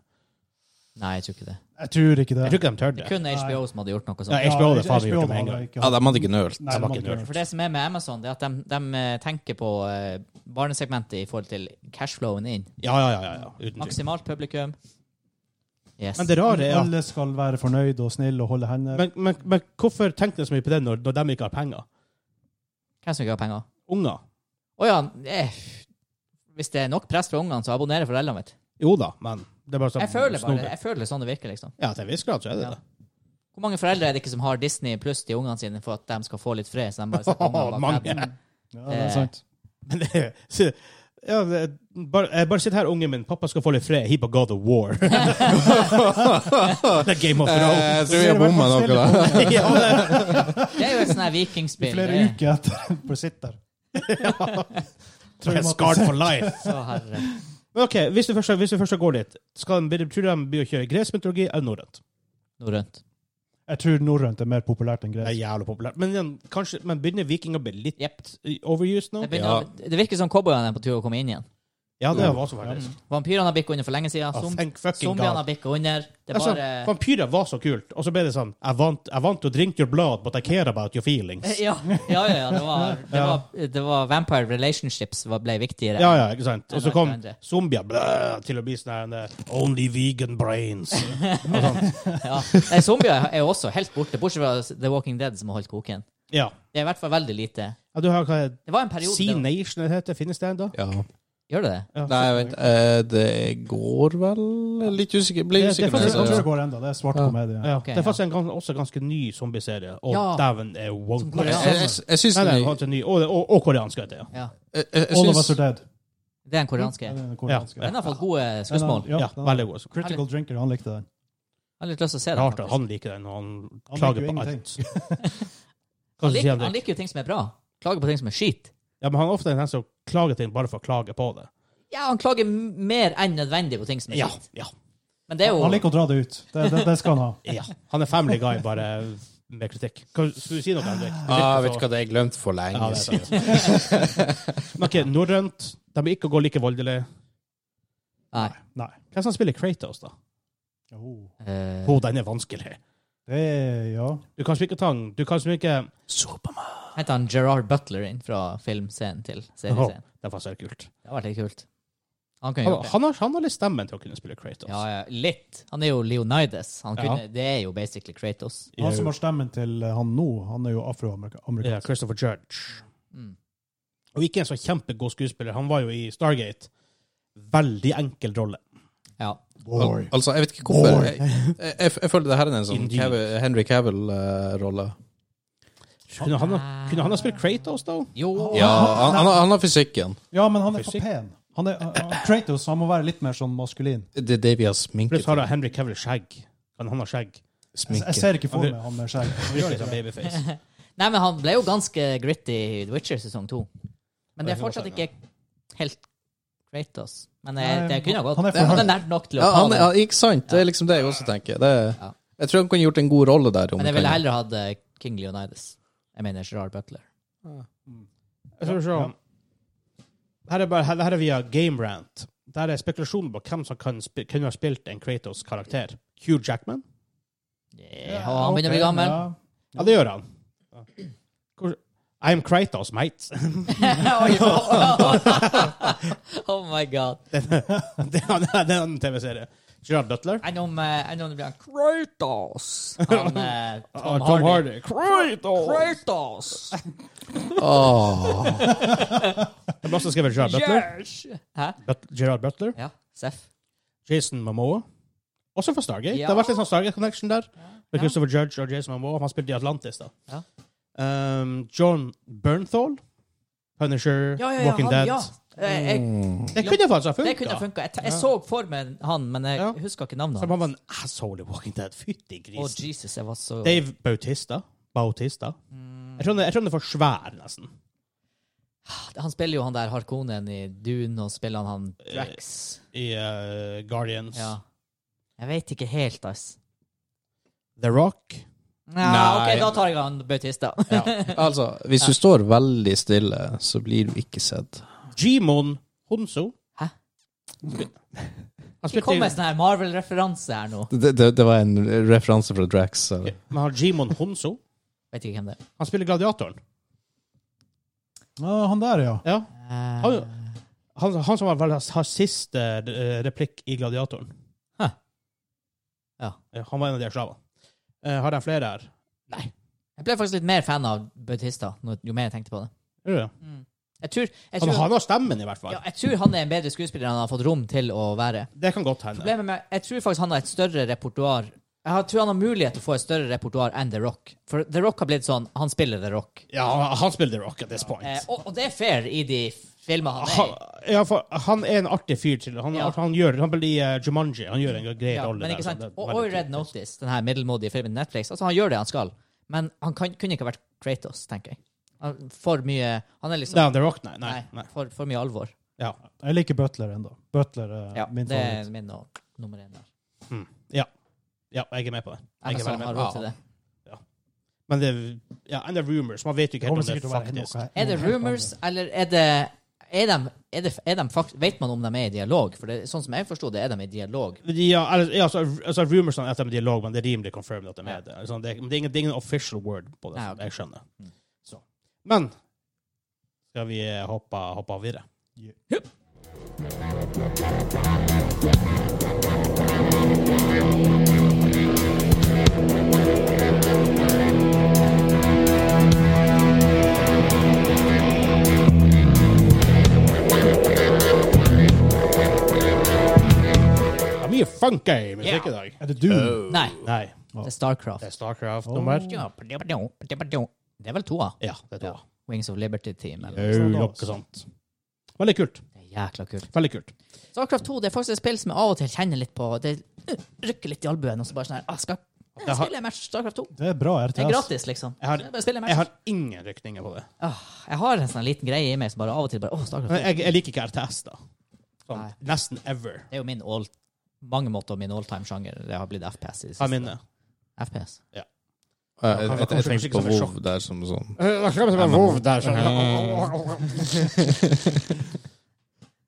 [SPEAKER 5] Nei, jeg tror ikke det.
[SPEAKER 3] Jeg tror ikke
[SPEAKER 1] Jeg
[SPEAKER 3] det.
[SPEAKER 1] tror ikke de tør det.
[SPEAKER 5] Kun HBO som hadde gjort noe
[SPEAKER 1] Ja,
[SPEAKER 5] sånt.
[SPEAKER 1] jeg- HBO hadde faen meg gjort det med en gang.
[SPEAKER 4] Ja, de hadde ikke nølt.
[SPEAKER 1] Det var ikke
[SPEAKER 3] ikke
[SPEAKER 5] For det som er med Amazon, det er at de, de eh, tenker på eh, barnesegmentet i forhold til cashflowen inn.
[SPEAKER 1] Ja, ja, ja. ja, ja. Uten tvil.
[SPEAKER 5] Maksimalt publikum. Yes.
[SPEAKER 1] Mm. Men det rare er at
[SPEAKER 3] Alle skal være fornøyd og snill og holde hender.
[SPEAKER 1] Men, men, men hvorfor tenker de så mye på det når, når de ikke har penger?
[SPEAKER 5] Hvem som ikke har penger?
[SPEAKER 1] Unger?
[SPEAKER 5] Å ja, eh, hvis det er nok press fra ungene, så abonnerer foreldrene, vet du.
[SPEAKER 1] Jo da, men det er bare sånn
[SPEAKER 5] Jeg føler bare,
[SPEAKER 1] snobbete.
[SPEAKER 5] jeg føler sånn det virker, liksom.
[SPEAKER 1] Ja, til en viss grad så er det
[SPEAKER 5] Ja.
[SPEAKER 1] det.
[SPEAKER 5] Hvor mange foreldre er det ikke som har Disney pluss til ungene sine for at de skal få litt fred? Så de bare setter ungene bak
[SPEAKER 1] Mange.
[SPEAKER 5] tabben?
[SPEAKER 3] Ja, det er sant.
[SPEAKER 1] Men det så, ja, det, bare, jeg bare sitt her, ungen min. Pappa skal få litt fred. He på God of War. det er Game of
[SPEAKER 5] Eh.
[SPEAKER 1] Thrones.
[SPEAKER 4] Eh, Jeg tror vi har bomma noe der.
[SPEAKER 1] ja, det-
[SPEAKER 5] Det er jo et sånn her
[SPEAKER 3] I
[SPEAKER 5] vikingspill.
[SPEAKER 3] flere
[SPEAKER 5] det er-
[SPEAKER 3] uker etter på sitt der.
[SPEAKER 1] det er scarred for life.
[SPEAKER 5] Så eh, herre.
[SPEAKER 1] Men ok, Hvis du først, hvis du først går dit, skal de, tror du de blir å kjøre gresk mytologi eller norrønt?
[SPEAKER 5] Norrønt.
[SPEAKER 3] Jeg tror norrønt er mer populært enn
[SPEAKER 1] Det er
[SPEAKER 3] gresk.
[SPEAKER 1] jævlig populært. Men, igjen, kanskje, men begynner vikinger å bli litt
[SPEAKER 5] Jepp.
[SPEAKER 1] overused nå?
[SPEAKER 5] Det, begynner, det virker som cowboyene er på tur å komme inn igjen.
[SPEAKER 1] Ja, det var så faktisk.
[SPEAKER 5] Vampyrene har bikka under for lenge siden.
[SPEAKER 1] Ah,
[SPEAKER 5] Mm. Som,
[SPEAKER 1] thank fucking
[SPEAKER 5] zombiene
[SPEAKER 1] God.
[SPEAKER 5] har bikka under. Det er
[SPEAKER 1] Altså,
[SPEAKER 5] bare
[SPEAKER 1] Vampyrer var så kult, og så ble det sånn I want, I want to drink your blood, but I care about your feelings.
[SPEAKER 5] ja, ja, ja, ja. Det var, det var, det var vampire relationships var- ble viktigere.
[SPEAKER 1] Ja, ja, ikke sant? Og så kom
[SPEAKER 5] Det er noe
[SPEAKER 1] zombier blæ, til å bli sånn her, eh, Only vegan brains.
[SPEAKER 5] Ja. Nei, Zombier er jo også helt borte, bortsett fra The Walking Dead, som har holdt koken.
[SPEAKER 1] Ja.
[SPEAKER 5] Det er i hvert fall veldig lite.
[SPEAKER 1] ja du har hva er det?
[SPEAKER 5] Det var en periode
[SPEAKER 1] Sea
[SPEAKER 5] det-
[SPEAKER 1] Nation det heter? Finnes det ennå?
[SPEAKER 4] Ja.
[SPEAKER 5] Gjør det det?
[SPEAKER 1] Ja.
[SPEAKER 4] Nei, vent. eh, Det går vel Jeg er Litt usikker. Ble
[SPEAKER 1] Det- det får
[SPEAKER 4] usikker. på
[SPEAKER 3] Jeg
[SPEAKER 1] du-
[SPEAKER 4] det,
[SPEAKER 3] tror
[SPEAKER 4] ja.
[SPEAKER 3] det går enda. Det er svart
[SPEAKER 4] Ja.
[SPEAKER 3] komedie.
[SPEAKER 1] Ja,
[SPEAKER 5] Ok,
[SPEAKER 1] det er faktisk en gans også ganske ny zombieserie, og
[SPEAKER 5] Ja.
[SPEAKER 1] dæven er woke.
[SPEAKER 5] Som
[SPEAKER 1] Nei,
[SPEAKER 5] koreansk.
[SPEAKER 4] Jeg, jeg, jeg syns
[SPEAKER 1] nei,
[SPEAKER 4] den
[SPEAKER 1] den er ganske ny, og, og, og koreansk, vet jeg.
[SPEAKER 5] Ja.
[SPEAKER 4] jeg, jeg,
[SPEAKER 3] All of us
[SPEAKER 4] jeg
[SPEAKER 3] are
[SPEAKER 4] syns-
[SPEAKER 3] dead.
[SPEAKER 5] Det er en koreansk
[SPEAKER 3] Ja,
[SPEAKER 5] en.
[SPEAKER 3] det er den koreanske.
[SPEAKER 5] Den har fått gode
[SPEAKER 3] Den er-
[SPEAKER 5] skussmål.
[SPEAKER 1] Ja,
[SPEAKER 3] Ja, den er-
[SPEAKER 1] veldig god. Så
[SPEAKER 3] Critical Drinker, han likte den.
[SPEAKER 5] Jeg har litt lyst til å se
[SPEAKER 1] det er
[SPEAKER 5] den.
[SPEAKER 1] rart at
[SPEAKER 5] faktisk.
[SPEAKER 1] han liker den, og han
[SPEAKER 3] Han
[SPEAKER 1] klager
[SPEAKER 3] liker jo
[SPEAKER 1] på alt.
[SPEAKER 3] ingenting.
[SPEAKER 1] Hva
[SPEAKER 5] Han,
[SPEAKER 1] skal jeg si
[SPEAKER 5] liker,
[SPEAKER 1] om
[SPEAKER 5] han
[SPEAKER 1] det?
[SPEAKER 5] liker jo ting som er bra. Klager på ting som er skit.
[SPEAKER 1] Ja, men han er ofte den som klager ting bare for å klage på det.
[SPEAKER 5] Ja, han klager m- mer enn nødvendig på ting som er
[SPEAKER 1] Ja,
[SPEAKER 5] skit.
[SPEAKER 1] ja,
[SPEAKER 5] Men det er jo
[SPEAKER 3] Han liker å dra det ut. Det, det, det skal han ha.
[SPEAKER 1] ja. Han er family guy, bare med kritikk. Hva, skulle du si noe, Henrik? Du virker
[SPEAKER 4] Ah, vet du hva, det er glemt for
[SPEAKER 1] så- Ja,
[SPEAKER 4] lenge
[SPEAKER 1] det
[SPEAKER 4] siden.
[SPEAKER 1] er sant. Men ok, norrønt. De vil ikke gå like voldelig.
[SPEAKER 5] Nei.
[SPEAKER 3] Nei.
[SPEAKER 1] Hvem som spiller Kratos, da?
[SPEAKER 3] Jo.
[SPEAKER 5] Eh,
[SPEAKER 1] Å, den er vanskelig.
[SPEAKER 3] Det er Ja.
[SPEAKER 1] Du kan ikke ta den. Du kan ikke
[SPEAKER 5] Henter han Gerard Butler inn fra filmscenen til
[SPEAKER 1] Åh,
[SPEAKER 5] seriescenen?
[SPEAKER 1] Det var så kult.
[SPEAKER 5] Det har vært litt kult. Han kunne
[SPEAKER 1] Han,
[SPEAKER 5] gjort det.
[SPEAKER 1] han, har, han har litt stemmen til å kunne spille Kratos.
[SPEAKER 5] Ja, ja, litt. Han er jo Leonidas. Han kunne,
[SPEAKER 1] Ja.
[SPEAKER 5] Det er jo basically Kratos.
[SPEAKER 3] Han som har stemmen til eh, han nå, han er jo afroamerikaner.
[SPEAKER 1] Ja, Christopher Judge.
[SPEAKER 5] Mm.
[SPEAKER 1] Og ikke en så kjempegod skuespiller. Han var jo i Stargate. Veldig enkel rolle.
[SPEAKER 5] Ja.
[SPEAKER 4] Al altså, jeg vet ikke hvorfor. Jeg, jeg, jeg, jeg føler det her er en sånn
[SPEAKER 1] Indeed.
[SPEAKER 4] Cavill- eh, Henry Cavill-rolle.
[SPEAKER 1] Kunne han, ha- kunne han ha spilt Kratos, da?
[SPEAKER 5] Jo.
[SPEAKER 4] ja, han, han, har- han har fysikken.
[SPEAKER 3] Ja, men han er for
[SPEAKER 1] Fysikk.
[SPEAKER 3] pen. Han er, eh, eh, Kratos han må være litt mer sånn maskulin.
[SPEAKER 4] Det er det vi har sminket.
[SPEAKER 1] Pluss har han Henry Cavill skjegg. Kan han ha skjegg?
[SPEAKER 3] Jeg,
[SPEAKER 4] sminket.
[SPEAKER 3] jeg ser ikke for meg han med skjegg. Han gjør
[SPEAKER 1] Virkelig
[SPEAKER 3] ikke
[SPEAKER 1] sånn
[SPEAKER 3] det.
[SPEAKER 1] babyface.
[SPEAKER 5] Nei, men han ble jo ganske gritty i The Witcher sesong to. Men det er
[SPEAKER 1] Det kan
[SPEAKER 5] fortsatt
[SPEAKER 1] godt hende.
[SPEAKER 5] ikke helt Kratos. Men eh,
[SPEAKER 3] Nei,
[SPEAKER 5] det kunne ha gått.
[SPEAKER 3] han er for
[SPEAKER 5] Han
[SPEAKER 3] høy.
[SPEAKER 5] er nært nok til
[SPEAKER 4] ja,
[SPEAKER 5] å ta
[SPEAKER 4] han, ja,
[SPEAKER 5] det.
[SPEAKER 4] ikke sant? Det er liksom det jeg også tenker. Det, er-
[SPEAKER 5] Ja.
[SPEAKER 4] Jeg tror han kunne gjort en god rolle der. om
[SPEAKER 5] Men jeg
[SPEAKER 4] kan-
[SPEAKER 5] ville heller hatt eh, King Leonidas. Jeg mener Gerard Butler.
[SPEAKER 1] Jeg skal se. Her er, bare, her, her er via Game Rant. Der er spekulasjonen på hvem som kan spi- kunne ha spilt en Kratos-karakter. Hugh Jackman?
[SPEAKER 5] Yeah, og han begynner å bli gammel.
[SPEAKER 3] Ja.
[SPEAKER 1] Ja, det gjør han. Hvor, I'm Kratos, mate.
[SPEAKER 5] Oi, oh my god.
[SPEAKER 1] Det er det er en TV-serie. Gerard Butler.
[SPEAKER 5] Enn om, eh, enn om det blir han Kratos? Han, eh,
[SPEAKER 1] Tom,
[SPEAKER 5] Tom,
[SPEAKER 1] Tom
[SPEAKER 5] Hardy.
[SPEAKER 1] Hardy. Kratos!
[SPEAKER 5] Kratos!
[SPEAKER 4] Åh.
[SPEAKER 1] Jeg har også skrevet Gerard Butler.
[SPEAKER 5] Yes! Hæ?
[SPEAKER 1] But Gerard Butler.
[SPEAKER 5] Ja, Seff.
[SPEAKER 1] Jason Momoa. Også fra Stargate.
[SPEAKER 5] Ja.
[SPEAKER 1] Det har vært litt sånn Stargate-connection der. Med
[SPEAKER 5] Ja.
[SPEAKER 1] Christopher Judge og Jason Momoa. Han spilte i Atlantis, da.
[SPEAKER 5] Ja.
[SPEAKER 1] Um, John Bernthal. Punisher.
[SPEAKER 5] Ja, ja, ja,
[SPEAKER 1] Walking
[SPEAKER 5] han,
[SPEAKER 1] Dead. Mm.
[SPEAKER 5] Ja. Eh, Jeg,
[SPEAKER 1] Det kunne faktisk ha
[SPEAKER 5] Det kunne ha
[SPEAKER 1] funka.
[SPEAKER 5] funka. Jeg, jeg så for meg han, men jeg
[SPEAKER 1] Ja.
[SPEAKER 5] husker ikke navnet
[SPEAKER 1] Som han
[SPEAKER 5] hans.
[SPEAKER 1] var en asshole i Walking Dead. Fytti
[SPEAKER 5] Å,
[SPEAKER 1] grisen.
[SPEAKER 5] Jesus, jeg var så
[SPEAKER 1] Dave Bautista. Bautista.
[SPEAKER 5] Mm.
[SPEAKER 1] Jeg tror han er- jeg tror han er for svær, nesten.
[SPEAKER 5] Han spiller jo han der Harkonen i Dune, og spiller han han Drax.
[SPEAKER 1] I uh, Guardians.
[SPEAKER 5] Ja. Jeg veit ikke helt, ass.
[SPEAKER 1] The Rock.
[SPEAKER 5] Ja,
[SPEAKER 4] Nei.
[SPEAKER 5] OK, da tar jeg han Bautista.
[SPEAKER 4] Altså, hvis du står veldig stille, så blir du ikke sett.
[SPEAKER 1] Jimon Honso.
[SPEAKER 5] Hæ?
[SPEAKER 1] Han
[SPEAKER 5] Det
[SPEAKER 1] spilte i
[SPEAKER 5] kommer en sånn her Marvel-referanse her nå.
[SPEAKER 4] Det, det, det var en referanse fra Drax. eller?
[SPEAKER 1] Men han Jimon Honso.
[SPEAKER 5] Vet ikke hvem det er.
[SPEAKER 1] Han spiller Gladiatoren.
[SPEAKER 3] Ja, han der, ja.
[SPEAKER 1] Ja.
[SPEAKER 5] Eh,
[SPEAKER 1] Han, han, han som har, vel- har siste eh, replikk i Gladiatoren.
[SPEAKER 5] Hæ. Ja.
[SPEAKER 1] Eh, Han var en av de slavene. Eh, har de flere her? Nei.
[SPEAKER 5] jeg ble faktisk litt mer fan av Bautista nå- jo mer jeg tenkte på det.
[SPEAKER 1] Er du det?
[SPEAKER 5] Jeg tror, jeg
[SPEAKER 1] Han,
[SPEAKER 5] tror,
[SPEAKER 1] han har stemmen, i hvert fall.
[SPEAKER 5] ja, jeg tror han er en bedre skuespiller enn han har fått rom til å være.
[SPEAKER 1] Det kan godt hende.
[SPEAKER 5] Problemet med, jeg tror faktisk han har et større repertoar Jeg har- tror han har mulighet til å få et større repertoar enn The Rock. For The Rock har blitt sånn Han spiller The Rock.
[SPEAKER 1] Ja, han- han spiller The Rock at this point. Ah,
[SPEAKER 5] Eh, og, og det er fair i de filmer han er
[SPEAKER 1] han,
[SPEAKER 5] i.
[SPEAKER 1] ja, for, han er en artig fyr til. Han,
[SPEAKER 5] Ja.
[SPEAKER 1] han gjør han blir eh, Jumanji. Han gjør en grei
[SPEAKER 5] Ja,
[SPEAKER 1] rolle der,
[SPEAKER 5] men ikke
[SPEAKER 1] så
[SPEAKER 5] sant?
[SPEAKER 1] det er
[SPEAKER 5] Og,
[SPEAKER 1] veldig
[SPEAKER 5] og i
[SPEAKER 1] kult.
[SPEAKER 5] Red Notice, den her middelmådige filmen Netflix, altså han gjør det han skal. Men han kan, kunne ikke vært Kratos, tenker jeg. Han, for mye Han er liksom
[SPEAKER 1] Nei, The Rock, nei. nei,
[SPEAKER 5] Nei,
[SPEAKER 1] nei.
[SPEAKER 5] for, for mye alvor.
[SPEAKER 1] Ja.
[SPEAKER 3] Jeg liker Butler ennå. Butler er
[SPEAKER 5] Ja,
[SPEAKER 3] min
[SPEAKER 5] det er
[SPEAKER 3] favoritt.
[SPEAKER 5] min og nummer én der.
[SPEAKER 1] Mm. ja. Ja, jeg er med på det.
[SPEAKER 5] Jeg
[SPEAKER 1] Jeg er
[SPEAKER 5] har
[SPEAKER 1] veldig med
[SPEAKER 5] råd
[SPEAKER 1] på
[SPEAKER 5] til
[SPEAKER 1] det.
[SPEAKER 5] det.
[SPEAKER 1] Men det er ja, and the rumors. Man vet jo ikke
[SPEAKER 3] kommer
[SPEAKER 1] helt om
[SPEAKER 3] sikkert
[SPEAKER 1] det
[SPEAKER 3] til å være
[SPEAKER 1] faktisk.
[SPEAKER 3] noe.
[SPEAKER 5] Er det rumors, eller er det er de, er de, er de fakt, Vet man om de er i dialog? For det, sånn som jeg forsto det, er de i dialog.
[SPEAKER 1] Ja, eller, ja, altså, altså rumorsene er at de er i dialog, men det er rimelig confirmed at de er det. Altså, det, er- men det, er ingen, det er ingen official word på det, som
[SPEAKER 5] Nei, ok. Mm.
[SPEAKER 1] jeg skjønner. Så. Men skal vi eh, hoppe, hoppe videre? Det er mye funky musikk i dag.
[SPEAKER 3] Er det du?
[SPEAKER 5] Nei,
[SPEAKER 1] Nei,
[SPEAKER 5] det er
[SPEAKER 1] det
[SPEAKER 5] Starcraft.
[SPEAKER 1] er Starcraft-nummer.
[SPEAKER 5] Det er vel toa?
[SPEAKER 1] Ja, det tror jeg.
[SPEAKER 5] Wings of Liberty Team. Eller.
[SPEAKER 1] Au, Noe sånt. Veldig kult.
[SPEAKER 5] Det er jækla kult.
[SPEAKER 1] Veldig kult.
[SPEAKER 5] Starcraft 2 det er faktisk et spill som jeg av og til kjenner litt på. Det øh, rykker litt i albuen. Og så bare sånn her ah, skal,
[SPEAKER 1] Jeg
[SPEAKER 5] jeg
[SPEAKER 1] har-
[SPEAKER 5] spiller en match Starcraft 2.
[SPEAKER 3] Det er bra RTS.
[SPEAKER 5] Det er gratis, liksom.
[SPEAKER 1] Jeg har-
[SPEAKER 5] Så bare spiller en match.
[SPEAKER 1] Jeg har ingen rykninger på det.
[SPEAKER 5] Åh, jeg har en sånn liten greie i meg som bare av og til bare Åh, Starcraft 2.
[SPEAKER 1] Men jeg, jeg liker ikke RTS, da. Sånn,
[SPEAKER 5] Nei.
[SPEAKER 1] nesten ever,
[SPEAKER 5] Det er jo min all mange måter min alltime-sjanger. Det har blitt FPS i det
[SPEAKER 1] av
[SPEAKER 5] siste.
[SPEAKER 1] minne.
[SPEAKER 5] FPS.
[SPEAKER 4] Jeg, jeg, jeg, jeg
[SPEAKER 1] Kanskje
[SPEAKER 4] tenker
[SPEAKER 1] ikke
[SPEAKER 4] på
[SPEAKER 1] som et
[SPEAKER 4] WoW der som sånn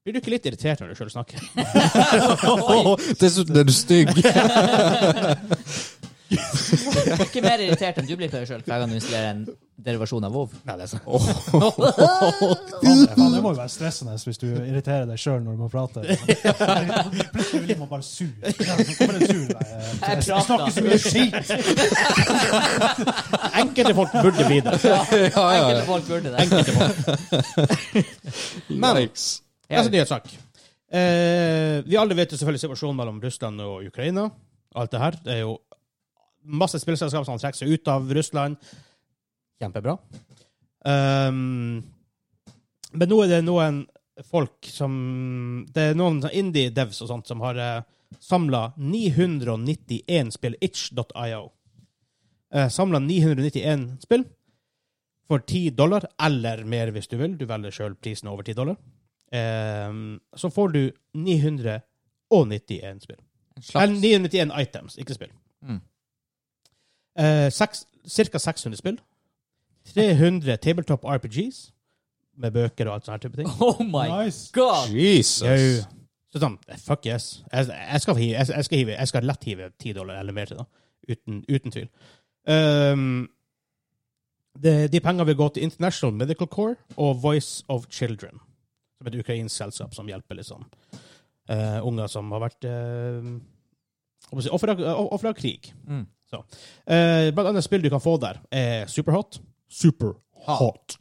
[SPEAKER 1] Blir du ikke litt irritert når du sjøl snakker?
[SPEAKER 4] Dessuten er du stygg!
[SPEAKER 5] Ikke mer irritert enn du blir på deg sjøl hver gang du installerer en derivasjon av WoW.
[SPEAKER 1] Nei, det er sant.
[SPEAKER 3] Faen, faen, det må jo være stressende hvis du irriterer deg sjøl når du må prate. Plutselig blir man bare sur. Ja, så kommer det sur eh,
[SPEAKER 5] Jeg
[SPEAKER 3] Jeg snakker så mye skit!
[SPEAKER 1] Enkelte folk burde bli det.
[SPEAKER 5] Enkelte folk burde det.
[SPEAKER 1] Men
[SPEAKER 4] Yikes.
[SPEAKER 1] neste altså, nyhetssak. Eh, vi alle vet jo selvfølgelig situasjonen mellom Russland og Ukraina. Alt det her. Det er jo masse spillselskap som trekker seg ut av Russland. Kjempebra. Um, men nå er det noen folk som Det er noen sånn indie devs og sånt som har uh, samla 991 spill, itch.io. Uh, samla 991 spill for 10 dollar, eller mer hvis du vil. Du velger sjøl prisen over 10 dollar. Um, så får du 991 spill.
[SPEAKER 5] En
[SPEAKER 1] Eller
[SPEAKER 5] slags
[SPEAKER 1] 991 items, ikke spill.
[SPEAKER 5] Mm.
[SPEAKER 1] Eh, seks, cirka 600 spill. 300 tabletop RPGs, med bøker og alt sånne her type ting.
[SPEAKER 5] Oh my
[SPEAKER 3] Nice.
[SPEAKER 5] god!
[SPEAKER 4] Jesus!
[SPEAKER 1] Jau. Så sånn, fuck yes. Jeg, jeg, skal, hive, jeg, jeg, skal, hive, jeg skal lett hive 10 dollar eller mer til, da. Uten, uten tvil. Ehm, det, de pengene vil gå til International Medical Corps og Voice of Children, som er et ukrainsk selskap som hjelper liksom, eh, unger som har vært uh, offer, av, offer av krig.
[SPEAKER 5] Mm.
[SPEAKER 1] Eh, blant annet spill du kan få der, er Superhot. Superhot.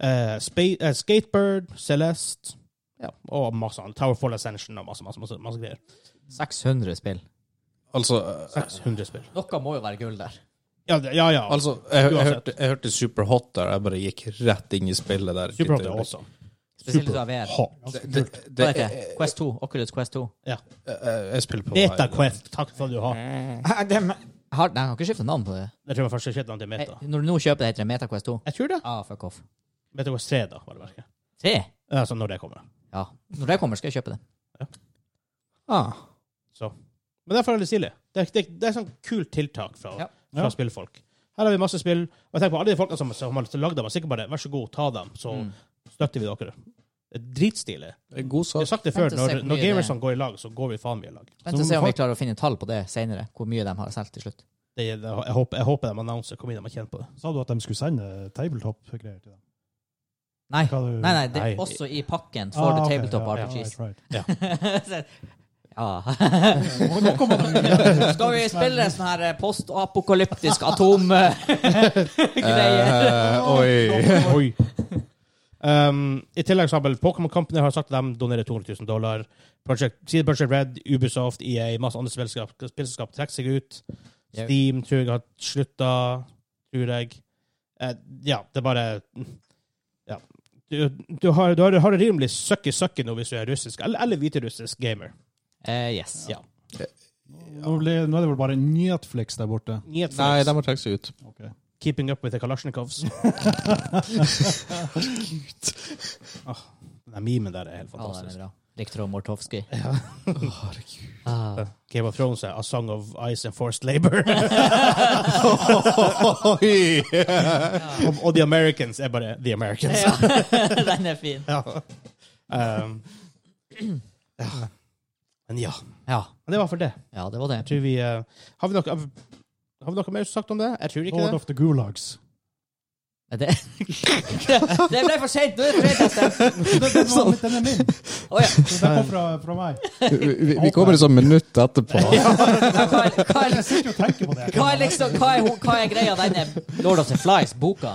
[SPEAKER 1] Eh, Spa- eh, Skatebird, Celeste ja, og masse annet. Towerfall Ascension og masse, masse, masse, masse greier.
[SPEAKER 5] 600 spill.
[SPEAKER 4] Altså,
[SPEAKER 1] Eh, 600 spill.
[SPEAKER 5] Noe må jo være gull der.
[SPEAKER 1] Ja, det- ja. ja.
[SPEAKER 4] altså jeg, jeg,
[SPEAKER 1] Uansett.
[SPEAKER 4] hørte, jeg hørte Superhot der, jeg bare gikk rett inn i spillet der.
[SPEAKER 1] Superhot er awesome.
[SPEAKER 5] Spesielt hvis du har VR.
[SPEAKER 1] Hot.
[SPEAKER 4] Det, det,
[SPEAKER 5] Hva
[SPEAKER 4] det,
[SPEAKER 5] heter det? Eh, Quest 2. Oculus Quest 2.
[SPEAKER 1] Ja.
[SPEAKER 4] jeg, jeg spiller på
[SPEAKER 1] MetaQuest, takk for at du har.
[SPEAKER 5] Har, nei, jeg har ikke skifta navn på det.
[SPEAKER 1] Det tror jeg først skjedde til Meta.
[SPEAKER 5] Eh, Når du nå kjøper det, heter det MetaQuest 2.
[SPEAKER 1] Jeg tror det.
[SPEAKER 5] Ah, fuck off.
[SPEAKER 1] MetaQuest 3, da, var det verket.
[SPEAKER 5] Tre?
[SPEAKER 1] Altså når det kommer.
[SPEAKER 5] Ja. Når det kommer, skal jeg kjøpe det.
[SPEAKER 4] Ah.
[SPEAKER 1] Så. Men derfor er det stilig. Det, er- det, er- det er sånn kult tiltak fra,
[SPEAKER 5] Ja.
[SPEAKER 1] fra
[SPEAKER 3] Ja.
[SPEAKER 1] spillfolk. Her har vi masse spill. Og jeg tenker på alle de folkene som, som har lagd dem. og Sikkert bare, vær så god, ta dem, så
[SPEAKER 5] Mm.
[SPEAKER 1] støtter vi dere. Det er dritstilig.
[SPEAKER 4] Det er god
[SPEAKER 1] Jeg har
[SPEAKER 4] sak.
[SPEAKER 1] sagt det før.
[SPEAKER 5] Vent og se
[SPEAKER 1] Når,
[SPEAKER 5] hvor
[SPEAKER 1] når
[SPEAKER 5] mye det
[SPEAKER 1] gamersene går i lag, så går vi faen mye i lag.
[SPEAKER 5] Vent og se om vi klarer å finne tall på det senere, hvor mye de har solgt til slutt.
[SPEAKER 1] Det, jeg, jeg, håper, jeg håper de annonser hvor mye de har tjent på det.
[SPEAKER 3] Sa du at de skulle sende tabletop-greier til deg?
[SPEAKER 5] Nei,
[SPEAKER 3] Hva du-
[SPEAKER 5] nei, nei det
[SPEAKER 1] Nei.
[SPEAKER 5] er også i pakken får du
[SPEAKER 3] Ah, ok,
[SPEAKER 5] tabletop
[SPEAKER 3] ja,
[SPEAKER 5] RPGs.
[SPEAKER 3] right, right.
[SPEAKER 5] Så- Ja.
[SPEAKER 3] Nå- nå kommer det mye.
[SPEAKER 5] Skal vi spille en sånn her eh, postapokalyptisk atom-greier?
[SPEAKER 4] Eh, oi.
[SPEAKER 1] Oi. Um, I tillegg så har vel Pokémon Company har sagt at de donerer 200 000 dollar. Project, CD Project Red, Ubisoft, EA, masse andre spillselskap, spillselskap trekker seg ut.
[SPEAKER 5] Ja.
[SPEAKER 1] Steam tror jeg har slutta, tror jeg. Eh, ja, det er bare Ja. Du, du, har, du har, har det rimelig søkki-søkki nå hvis du er russisk eller, eller hviterussisk gamer.
[SPEAKER 5] Eh, yes.
[SPEAKER 1] Ja.
[SPEAKER 3] Nå blir- nå er det vel bare Netflix der borte.
[SPEAKER 1] Nyhet for
[SPEAKER 4] Nei,
[SPEAKER 1] oss.
[SPEAKER 4] de har trukket seg ut.
[SPEAKER 1] Keeping up with the Kalasjnikovs. ah, den memen der er helt
[SPEAKER 5] Ja, den
[SPEAKER 1] fantastisk.
[SPEAKER 5] er bra. Viktor Mortovskij.
[SPEAKER 1] Game of Thrones er A Song of Ice and Forced Labor.
[SPEAKER 4] Oi!
[SPEAKER 1] og, og The Americans er bare The Americans.
[SPEAKER 5] Ja, den er fin.
[SPEAKER 1] Ja. Um, ja. Men ja.
[SPEAKER 5] Ja,
[SPEAKER 1] Men det var for det.
[SPEAKER 5] ja det var
[SPEAKER 1] Jeg
[SPEAKER 5] det.
[SPEAKER 1] tror vi, eh, har, vi noe, har vi noe mer sagt om det? Jeg tror ikke
[SPEAKER 3] Lord
[SPEAKER 1] det.
[SPEAKER 3] of the Gulags.
[SPEAKER 5] Men Det, det ble for seint! Nå er det fredagsstemt!
[SPEAKER 3] Den, den, var, den er min!
[SPEAKER 5] Å ja.
[SPEAKER 3] Den kom fra, fra meg.
[SPEAKER 4] Vi, vi, vi kommer liksom minutt etterpå.
[SPEAKER 5] Hva er, hva er,
[SPEAKER 3] Jeg sitter jo og tenker på det.
[SPEAKER 5] hva er, liksom, hva er, ho- hva er greia denne Lord of the Flies-boka?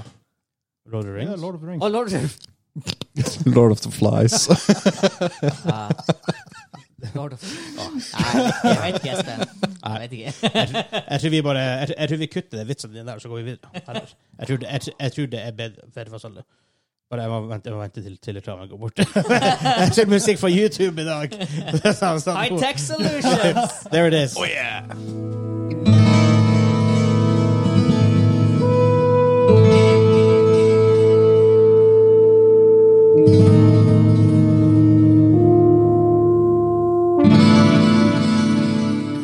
[SPEAKER 1] Lord of the
[SPEAKER 3] Ja,
[SPEAKER 1] Rings.
[SPEAKER 3] Lord of the Rings.
[SPEAKER 5] Å, Lord of the-
[SPEAKER 4] Lord of the Flies.
[SPEAKER 1] Oh,
[SPEAKER 5] Ja. Lord of Å, Nei, jeg vet ikke, Espen. Jeg vet ikke.
[SPEAKER 1] Jeg tror vi bare jeg, jeg tror vi kutter den vitsen din der, så går vi videre. Eller, Jeg tror det, jeg, jeg tror det er bedre, bedre for oss alle. Bare jeg må vente, jeg må vente til, til reklamen går bort. jeg ser musikk fra YouTube i dag. Det er sånn-
[SPEAKER 5] High-tech solutions!
[SPEAKER 1] There it is.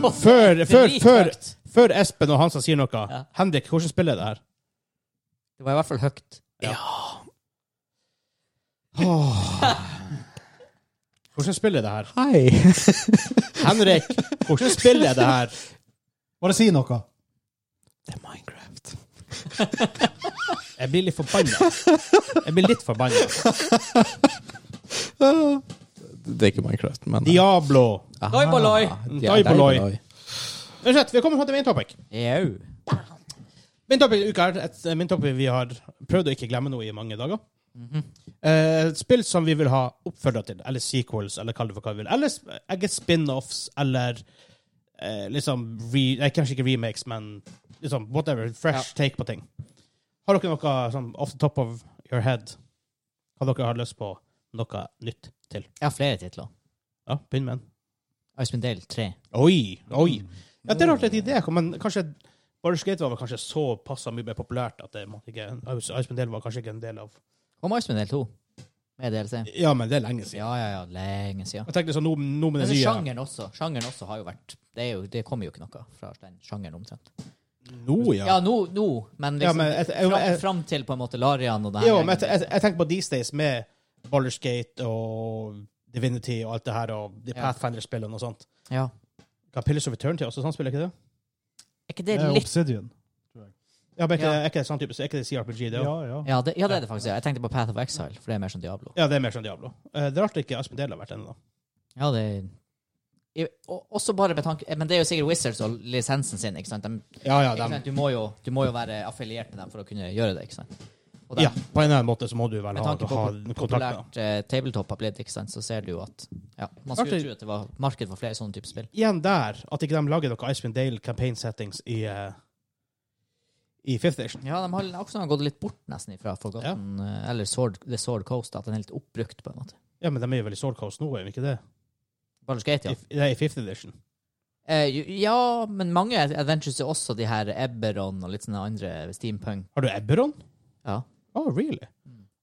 [SPEAKER 1] Før, før, før,
[SPEAKER 5] drithøyt.
[SPEAKER 1] før Espen og Hansa sier noe
[SPEAKER 5] Ja.
[SPEAKER 1] Henrik, hvordan spiller det her?
[SPEAKER 5] Det var i hvert fall høyt.
[SPEAKER 1] Hvordan spiller det her?
[SPEAKER 4] Hei!
[SPEAKER 1] Henrik, hvordan spiller det her?
[SPEAKER 3] Bare si noe.
[SPEAKER 4] Det er Minecraft.
[SPEAKER 1] Jeg blir litt forbanna. Jeg blir litt forbanna.
[SPEAKER 4] Det er ikke Minecraft, men eh, ah,
[SPEAKER 1] Diablo.
[SPEAKER 5] Doi bolloi.
[SPEAKER 4] Ja,
[SPEAKER 1] Mm, Doi bolloi.
[SPEAKER 4] doi bolloi.
[SPEAKER 1] Uansett, vi kommer fram til main topic.
[SPEAKER 5] Jau.
[SPEAKER 1] Min topic i uka er et eh, min topic vi har prøvd å ikke glemme noe i mange dager. Eh, et spill som vi vil ha oppfølger til, eller sequels, eller kall det for hva vi vil. Eller sp- jeg guess spin-offs, eller eh, liksom re, nei, Kanskje ikke remakes, men liksom whatever. Fresh take på ting. Har dere noe sånn off the top of your head Hva dere har lyst på noe nytt til?
[SPEAKER 5] Jeg har flere titler.
[SPEAKER 1] Ja, begynn med en.
[SPEAKER 5] Icewind Dale 3.
[SPEAKER 1] Oi, oi. Ja, det er rart at idé kom, men kanskje Baldur's Gate var vel kanskje så passa mye mer populært at det måtte ikke Iceman Dale var kanskje ikke en del av
[SPEAKER 5] Kom Icewind Dale 2 med DLC.
[SPEAKER 1] Ja, men det er lenge
[SPEAKER 5] Ja, ja, ja. Lenge siden.
[SPEAKER 1] Jeg tenkte sånn nå, nå med
[SPEAKER 5] Men
[SPEAKER 1] det nye
[SPEAKER 5] Altså, sjangeren også, sjangeren også har jo vært Det, er jo, det kommer jo ikke noe fra den sjangeren omtrent.
[SPEAKER 1] Nå,
[SPEAKER 5] Ja,
[SPEAKER 1] ja.
[SPEAKER 5] nå, nå, men
[SPEAKER 1] Ja,
[SPEAKER 5] liksom
[SPEAKER 1] men jeg- jeg-
[SPEAKER 5] fra,
[SPEAKER 1] jeg-
[SPEAKER 5] fram til på en måte Larian og det her.
[SPEAKER 1] Jo, men jeg, jeg, jeg tenker på These Days med Baldur's Gate og Divinity og alt det her, og de
[SPEAKER 5] Ja.
[SPEAKER 1] Pathfinder-spillene og sånt.
[SPEAKER 5] ja.
[SPEAKER 1] Kan Pillars of Return til også sånn spiller, ikke det?
[SPEAKER 5] Er ikke
[SPEAKER 3] Det
[SPEAKER 5] det
[SPEAKER 3] er
[SPEAKER 5] litt
[SPEAKER 3] Obsidian.
[SPEAKER 1] Ja, men er ikke,
[SPEAKER 5] Ja.
[SPEAKER 1] er ikke det sånn type, er ikke det CRPG, det
[SPEAKER 3] Ja,
[SPEAKER 1] òg? Ja.
[SPEAKER 3] ja.
[SPEAKER 5] ja det, ja, det er det faktisk. ja. Jeg tenkte på Path of Exile, for det er mer som Diablo.
[SPEAKER 1] det er mer som Diablo. Eh, Det er rart ikke Aspen Dale har vært ennå.
[SPEAKER 5] Ja, det i- og- Også bare med tanke Men det er jo sikkert Wizards og lisensen sin, ikke sant? De,
[SPEAKER 1] Ja, ja,
[SPEAKER 5] ikke sant? Du, må jo, du må jo være affiliert med dem for å kunne gjøre det, ikke sant? Og de-
[SPEAKER 1] ja, på en eller annen måte så må du vel
[SPEAKER 5] Med
[SPEAKER 1] ha,
[SPEAKER 5] tanke på
[SPEAKER 1] ha
[SPEAKER 5] hvor
[SPEAKER 1] kontakt med
[SPEAKER 5] populært eh, tabletop har blitt, ikke sant, så ser du jo at ja, Man skulle
[SPEAKER 1] Artig.
[SPEAKER 5] jo tro at det var marked for flere sånne typer spill.
[SPEAKER 1] igjen der at ikke de lager noe Icewind Dale campaign settings i, eh, i Fifth Edition.
[SPEAKER 5] Ja, de har også gått litt bort nesten fra Forgotten eh, eller Sword, The Sword Coast, at den er litt oppbrukt, på en måte.
[SPEAKER 1] Ja, men de er jo vel i Sword Coast nå, er de ikke det?
[SPEAKER 5] Baldur's Gate, ja.
[SPEAKER 1] I, det er i Fifth Edition.
[SPEAKER 5] Eh, jo- ja, men mange adventures er også de her Eberron og litt sånne andre steampunk.
[SPEAKER 1] Har du Eberron?
[SPEAKER 5] Ja.
[SPEAKER 1] Oh, really?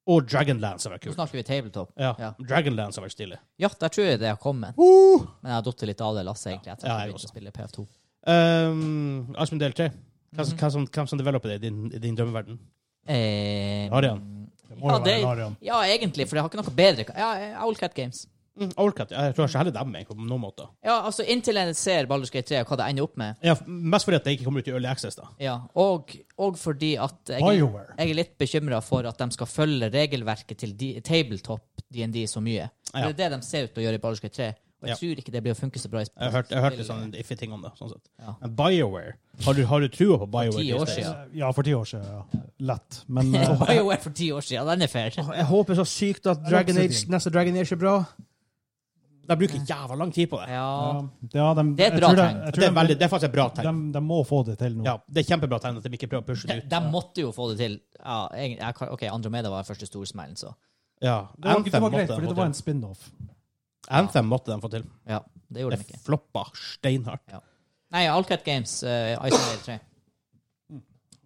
[SPEAKER 1] Og Dragonlands har vært
[SPEAKER 5] Nå
[SPEAKER 1] kult.
[SPEAKER 5] snakker vi tabletop.
[SPEAKER 1] Ja,
[SPEAKER 5] Ja.
[SPEAKER 1] Dragonlands har vært stilig.
[SPEAKER 5] Ja, der tror jeg det har kommet. Men jeg har datt litt av det lasset, egentlig, etter at
[SPEAKER 1] Ja,
[SPEAKER 5] jeg
[SPEAKER 1] jeg
[SPEAKER 5] begynte
[SPEAKER 1] også.
[SPEAKER 5] å spille PF2.
[SPEAKER 1] Um, Icewind Dale 3. Hvem
[SPEAKER 5] Mhm.
[SPEAKER 1] som, hvem som, hvem som developer det i din, i din drømmeverden?
[SPEAKER 5] Eh,
[SPEAKER 1] Arian.
[SPEAKER 3] Det må
[SPEAKER 5] ja,
[SPEAKER 3] jo
[SPEAKER 5] det,
[SPEAKER 3] være Larian.
[SPEAKER 5] ja, egentlig, for jeg har ikke noe bedre Ja, eh, Owlcat Games.
[SPEAKER 1] Mm, Allcat. Jeg tror ikke heller dem egentlig, på noen måter.
[SPEAKER 5] Ja, altså Inntil en ser Baldur's Gate 3 og hva det ender opp med.
[SPEAKER 1] Ja, f- mest fordi at det ikke kommer ut i Early Access, da.
[SPEAKER 5] Ja, Og, og fordi at jeg,
[SPEAKER 3] BioWare.
[SPEAKER 5] jeg er litt bekymra for at de skal følge regelverket til de, tabletop DND så mye. For
[SPEAKER 1] Ja.
[SPEAKER 5] Det er det de ser ut til å gjøre i Baldur's Gate 3. Og jeg
[SPEAKER 1] Ja.
[SPEAKER 5] tror ikke det blir å funke så bra. i
[SPEAKER 1] Jeg hørte, jeg hørte sånn iffy-ting om det. sånn sett.
[SPEAKER 5] Ja.
[SPEAKER 1] Men BioWare Har du, har du trua på BioWare?
[SPEAKER 5] ti
[SPEAKER 1] these
[SPEAKER 5] år
[SPEAKER 1] days?
[SPEAKER 5] siden.
[SPEAKER 3] Ja, for ti år siden. Ja. Lett. Men eh,
[SPEAKER 5] BioWare for ti år siden, den er fair.
[SPEAKER 1] Jeg håper så sykt at
[SPEAKER 3] Dragon Age-
[SPEAKER 1] neste Dragon Age er bra. De bruker jævla lang tid på det.
[SPEAKER 5] Ja.
[SPEAKER 3] ja, de,
[SPEAKER 5] Det er et
[SPEAKER 3] jeg
[SPEAKER 5] bra
[SPEAKER 3] tror de-
[SPEAKER 5] tegn.
[SPEAKER 3] jeg tror
[SPEAKER 1] Det er,
[SPEAKER 3] de-
[SPEAKER 1] veldig, det er faktisk et bra
[SPEAKER 3] De,
[SPEAKER 1] tegn.
[SPEAKER 3] de må få det til nå.
[SPEAKER 1] Ja, det er kjempebra tegn at de ikke prøver å pushe
[SPEAKER 5] De,
[SPEAKER 1] det ut.
[SPEAKER 5] de måtte jo få det til. Ja, egentlig, jeg, kan- OK, Andromeda var den første storsmellen, så
[SPEAKER 1] Ja,
[SPEAKER 3] Det var, det
[SPEAKER 1] Anthem
[SPEAKER 3] var greit,
[SPEAKER 1] måtte de
[SPEAKER 3] fordi
[SPEAKER 1] få
[SPEAKER 3] det var
[SPEAKER 1] til.
[SPEAKER 3] en spin-off.
[SPEAKER 1] Anthem måtte de få til.
[SPEAKER 5] ja, det gjorde
[SPEAKER 1] Det
[SPEAKER 5] de ikke.
[SPEAKER 1] floppa steinhardt.
[SPEAKER 5] Nei, Allcat Games, uh, Iceland 3.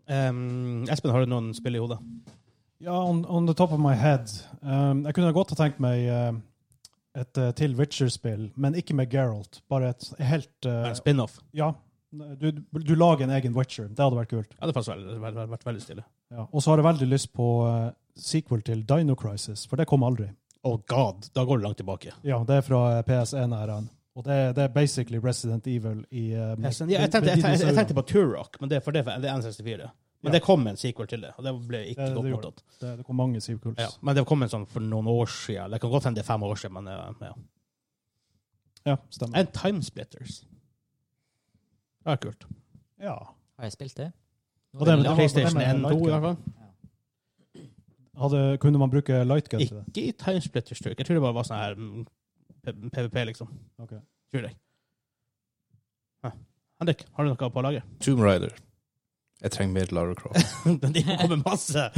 [SPEAKER 1] Um, Espen, har du noen spill i hodet?
[SPEAKER 3] Ja, on, on the top of my head. Um, jeg kunne godt ha tenkt meg um, et eh, til Witcher-spill, men ikke med Geralt. Bare et helt eh,
[SPEAKER 1] En spin-off.
[SPEAKER 3] Ja. Du, du lager en egen Witcher. Det hadde vært kult.
[SPEAKER 1] Ja, det hadde faktisk vært, vært, vært, vært veldig stille.
[SPEAKER 3] Ja. Og så har jeg veldig lyst på eh, sequel til Dino Crisis, for det kom aldri.
[SPEAKER 1] Oh god, da går det langt tilbake.
[SPEAKER 3] Ja, det er fra PS1-æraen. Og det, det er basically Resident Evil i eh,
[SPEAKER 1] Ja, jeg, tenkte, jeg, tenkte, jeg tenkte på Turok, men det er for det, det er N64. Men
[SPEAKER 3] Ja.
[SPEAKER 1] det kom en sequel til det, og det ble ikke
[SPEAKER 3] Det- det
[SPEAKER 1] godt
[SPEAKER 3] gjorde
[SPEAKER 1] mottatt.
[SPEAKER 3] Det, det kom mange sequels.
[SPEAKER 1] Ja, men det kom en sånn for noen år siden. Det kan godt hende det er fem år siden, men eh, ja.
[SPEAKER 3] Ja, stemmer.
[SPEAKER 1] En Timesplitters. Det er kult.
[SPEAKER 3] Ja.
[SPEAKER 5] Har jeg spilt det?
[SPEAKER 3] Og den-
[SPEAKER 5] Ja.
[SPEAKER 1] PlayStation
[SPEAKER 3] det er
[SPEAKER 1] 1
[SPEAKER 3] med
[SPEAKER 1] 2, i hvert fall.
[SPEAKER 3] Hadde, kunne man bruke lightgun til det?
[SPEAKER 1] Ikke i Timesplitters, tror jeg. Jeg tror det bare var sånn her mm, P- PVP, liksom.
[SPEAKER 3] Ok.
[SPEAKER 1] Tror jeg. Ja. Henrik, har du noe på lager?
[SPEAKER 4] Tomb Raider. Jeg trenger mer Lara Croft.
[SPEAKER 1] det kommer masse!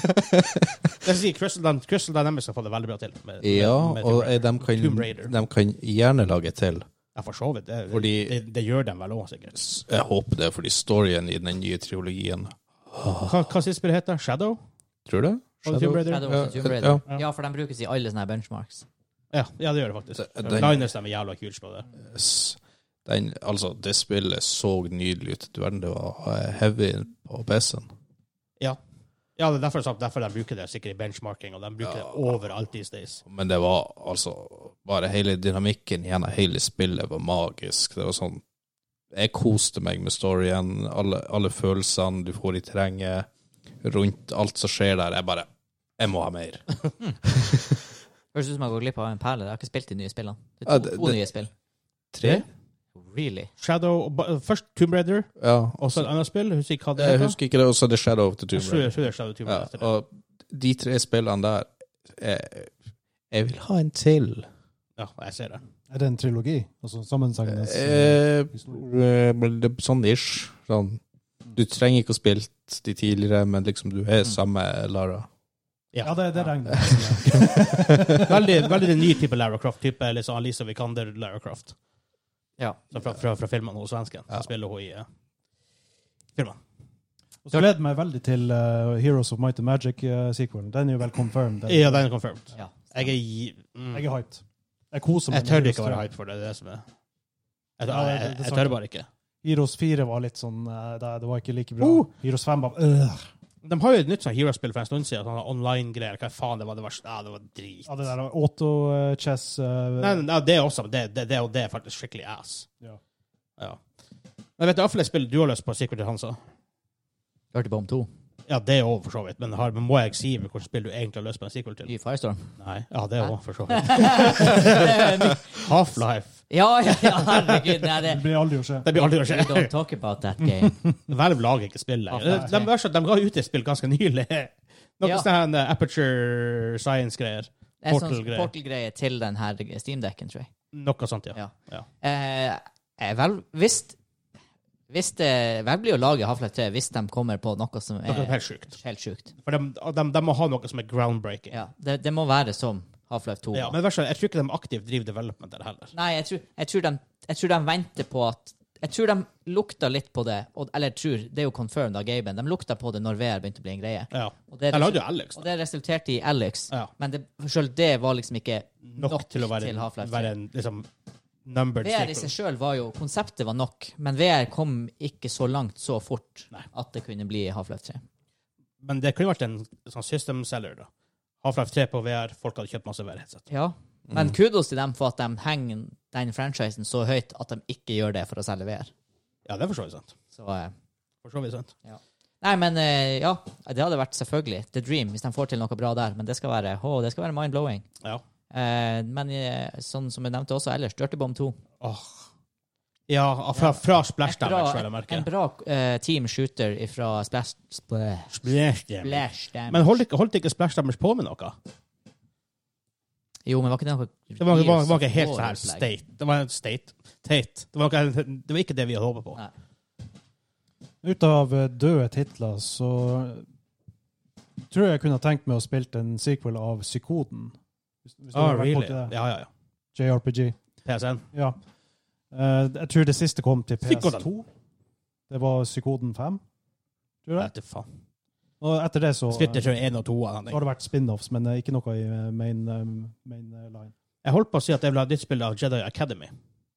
[SPEAKER 1] Jeg sier Crystal, Dyn- Crystal Dynamics har fått det veldig bra til. med- med-
[SPEAKER 4] ja,
[SPEAKER 1] med Tomb
[SPEAKER 4] og
[SPEAKER 1] Raider.
[SPEAKER 4] de kan,
[SPEAKER 1] Tomb Raider.
[SPEAKER 4] de kan gjerne lage til.
[SPEAKER 1] Ja, for så vidt. Det,
[SPEAKER 4] Fordi
[SPEAKER 1] det, det gjør de vel òg, sikkert.
[SPEAKER 4] s- Jeg håper det, fordi storyen i den nye trilogien Ah.
[SPEAKER 1] Hva, hva siste spillet heter? Shadow?
[SPEAKER 4] Tror du det?
[SPEAKER 1] Var det Tomb Raider?
[SPEAKER 5] Shadow of the sånn Tomb
[SPEAKER 4] Ja,
[SPEAKER 5] Raider. Ja, for de brukes i alle sånne her benchmarks.
[SPEAKER 1] Ja, ja, det gjør det faktisk.
[SPEAKER 4] Den-
[SPEAKER 1] Liners de er jævla kule på det.
[SPEAKER 4] S- Den, altså, det spillet så nydelig ut. Du verden, det var eh, heavy på PC-en.
[SPEAKER 1] Ja, det er derfor, jeg sa- derfor de bruker det sikkert i benchmarking, og de bruker det overalt these days.
[SPEAKER 4] Men det var altså Bare hele dynamikken gjennom hele spillet var magisk. Det var sånn Jeg koste meg med storyen, alle, alle følelsene du får i terrenget, rundt alt som skjer der. Jeg bare Jeg må ha mer.
[SPEAKER 5] Høres ut som jeg går glipp av en perle. Jeg har ikke spilt de nye spillene. Det
[SPEAKER 4] Ja,
[SPEAKER 5] er to,
[SPEAKER 4] det-
[SPEAKER 5] to
[SPEAKER 4] det-
[SPEAKER 5] nye spill.
[SPEAKER 4] Tre?
[SPEAKER 5] Really?
[SPEAKER 1] Shadow og ba- Først Tomb Raider,
[SPEAKER 4] Ja.
[SPEAKER 1] og så et annet spill. Husker ikke hva det
[SPEAKER 4] Jeg
[SPEAKER 1] heter.
[SPEAKER 4] husker ikke det, og så er det Shadow of the
[SPEAKER 1] Jeg
[SPEAKER 4] Tomb
[SPEAKER 1] tror-
[SPEAKER 4] Raider.
[SPEAKER 1] jeg tror det er Shadow Tomb
[SPEAKER 4] Ja,
[SPEAKER 1] Raider. etter det.
[SPEAKER 4] og de tre spillene der Jeg, jeg vil ha en til.
[SPEAKER 1] Ja, jeg ser det.
[SPEAKER 3] Er det en trilogi? Altså sammensengende
[SPEAKER 4] Eh, eh, sånn ish. Sånn. Du trenger ikke å spille de tidligere, men liksom du
[SPEAKER 1] Mm.
[SPEAKER 4] er samme Lara.
[SPEAKER 3] Ja, det, det regner
[SPEAKER 1] Veldig, veldig den nye type Lara Croft-type, eller så Alisa Vikander Lara Croft.
[SPEAKER 5] Ja.
[SPEAKER 1] Så fra, fra, fra filmene hos svensken. Så
[SPEAKER 4] Ja.
[SPEAKER 1] spiller hun i eh, filmene.
[SPEAKER 3] Og så gleder jeg meg veldig til eh, Heroes of Might and Magic-sequelen. den er jo vel confirmed. Den.
[SPEAKER 1] Ja, den er confirmed.
[SPEAKER 5] Ja.
[SPEAKER 1] Jeg er, gi- mm.
[SPEAKER 3] Jeg er hyped. Jeg koser meg.
[SPEAKER 1] Jeg tør ikke å være hype for det. Det er det som er Jeg,
[SPEAKER 3] Ja, det-
[SPEAKER 1] jeg,
[SPEAKER 3] det-
[SPEAKER 1] jeg,
[SPEAKER 3] det er sant.
[SPEAKER 1] tør bare ikke.
[SPEAKER 3] Heroes 4 var litt sånn eh, det, det var ikke like bra.
[SPEAKER 1] Oh!
[SPEAKER 3] Heroes 5 var øh.
[SPEAKER 1] De har jo et nytt sånn Hero-spill for en stund siden. Sånn online-greier. Hva faen, det var det verste. Ja, det var drit.
[SPEAKER 3] Ja, det der eh, auto-chess
[SPEAKER 1] Nei, nei, nei, det er også det, det, det, og det er faktisk skikkelig ass.
[SPEAKER 3] Ja.
[SPEAKER 1] Eh. Ja. Jeg vet iallfall et spill du har lyst på, Secret of Hansa.
[SPEAKER 5] Hørte bare om to.
[SPEAKER 1] Ja, det òg, for så vidt. Men, har, men må jeg si hvilket spill du egentlig har lyst på en sequel til?
[SPEAKER 5] Ny Firestorm.
[SPEAKER 1] Nei. Ja, det òg, for så vidt.
[SPEAKER 5] ja,
[SPEAKER 1] Half-Life.
[SPEAKER 5] ja, ja, herregud. Nei, det
[SPEAKER 3] Det blir aldri å skje.
[SPEAKER 1] Det blir aldri å
[SPEAKER 5] We
[SPEAKER 1] skje.
[SPEAKER 5] don't talk about that game.
[SPEAKER 1] Valve lager ikke spill lenger. De,
[SPEAKER 5] Half-Life
[SPEAKER 1] de, verste- de ga ut et spill ganske nylig. Noe
[SPEAKER 5] Ja.
[SPEAKER 1] sånn her, eh, Aperture Science-greier.
[SPEAKER 5] Det er sånn
[SPEAKER 1] Portal-greie.
[SPEAKER 5] portal-greie til den her Steam-dekken, tror jeg.
[SPEAKER 1] Noe sånt, Mm. ja.
[SPEAKER 5] Ja.
[SPEAKER 1] Ja.
[SPEAKER 5] Eh, eh, vel, hvis hvis det vel blir å lage Half-Life 3 hvis de kommer på noe som
[SPEAKER 1] Noe som er
[SPEAKER 5] er
[SPEAKER 1] helt sjukt.
[SPEAKER 5] helt sjukt.
[SPEAKER 1] For de, de, de må ha noe som er groundbreaking. Ja.
[SPEAKER 5] Ja, det, det må være som Half-Life 2. var.
[SPEAKER 1] men verst, jeg tror ikke de aktivt driver development der heller.
[SPEAKER 5] Nei, jeg tror, jeg, tror de, jeg tror de venter på at Jeg tror de lukta litt på det, og, eller jeg tror, det er jo confirmed av Gaben, de lukta på det når VR begynte å bli en greie.
[SPEAKER 1] Ja.
[SPEAKER 5] Og det,
[SPEAKER 1] Eller hadde jo Alex,
[SPEAKER 5] og
[SPEAKER 1] da.
[SPEAKER 5] det resulterte i Alex,
[SPEAKER 1] Ja.
[SPEAKER 5] men det, selv det var liksom ikke
[SPEAKER 1] Nok, til å være,
[SPEAKER 5] Half-Life 3.
[SPEAKER 1] være en liksom, numbered
[SPEAKER 5] VR
[SPEAKER 1] sequel.
[SPEAKER 5] i seg sjøl var jo Konseptet var nok, men VR kom ikke så langt så fort
[SPEAKER 1] Nei.
[SPEAKER 5] at det kunne bli Half-Life 3.
[SPEAKER 1] Men det kunne vært en sånn system seller, da. Half-Life 3 på VR, folk hadde kjøpt masse VR-headset.
[SPEAKER 5] Ja. Men kudos til dem for at de henger den franchisen så høyt at de ikke gjør det for å selge VR.
[SPEAKER 1] Ja, det er for så vidt sant.
[SPEAKER 5] Så eh,
[SPEAKER 1] For så vidt sant.
[SPEAKER 5] Nei, men eh, ja. Det hadde vært selvfølgelig The Dream, hvis de får til noe bra der. Men det skal være, å, det skal være mind-blowing.
[SPEAKER 1] Ja.
[SPEAKER 5] Eh, men eh, sånn som jeg nevnte også ellers, Dirtybomb 2.
[SPEAKER 1] Åh. Ja, fra, fra Splash
[SPEAKER 5] Et
[SPEAKER 1] Damage, vil jeg
[SPEAKER 5] bra,
[SPEAKER 1] merke.
[SPEAKER 5] en bra eh, team shooter fra Splash, Splash,
[SPEAKER 1] Splash Damage.
[SPEAKER 5] Splash Damage.
[SPEAKER 1] Men holdt ikke, holdt ikke Splash Damage på med noe?
[SPEAKER 5] jo, men var ikke det noe
[SPEAKER 1] Det var, var, var ikke helt
[SPEAKER 5] Gears
[SPEAKER 1] sånn her
[SPEAKER 5] of War-opplegg?
[SPEAKER 1] state. Det var en state. Tate. Det var, ikke, det var ikke det vi hadde håpet på.
[SPEAKER 5] Nei.
[SPEAKER 3] Ut av eh, døde titler så tror jeg jeg kunne ha tenkt meg å spille en sequel av Psykoden. Hvis, hvis
[SPEAKER 1] Ah,
[SPEAKER 3] dere har vært
[SPEAKER 1] really?
[SPEAKER 3] borti det.
[SPEAKER 1] Ja, ja, ja.
[SPEAKER 3] JRPG.
[SPEAKER 1] PSN.
[SPEAKER 3] Ja. Eh, jeg tror det siste kom til PS2.
[SPEAKER 1] Psykoden.
[SPEAKER 3] Det var Psykoden 5. Tror jeg.
[SPEAKER 1] Vet du faen.
[SPEAKER 3] Og etter det så, eh,
[SPEAKER 1] Splitter 21 og 2
[SPEAKER 3] så har det vært spin-offs, men eh, ikke noe i eh, main, eh, main eh, line.
[SPEAKER 1] Jeg holdt på å si at jeg vil ha et nytt spill av Jedi Academy.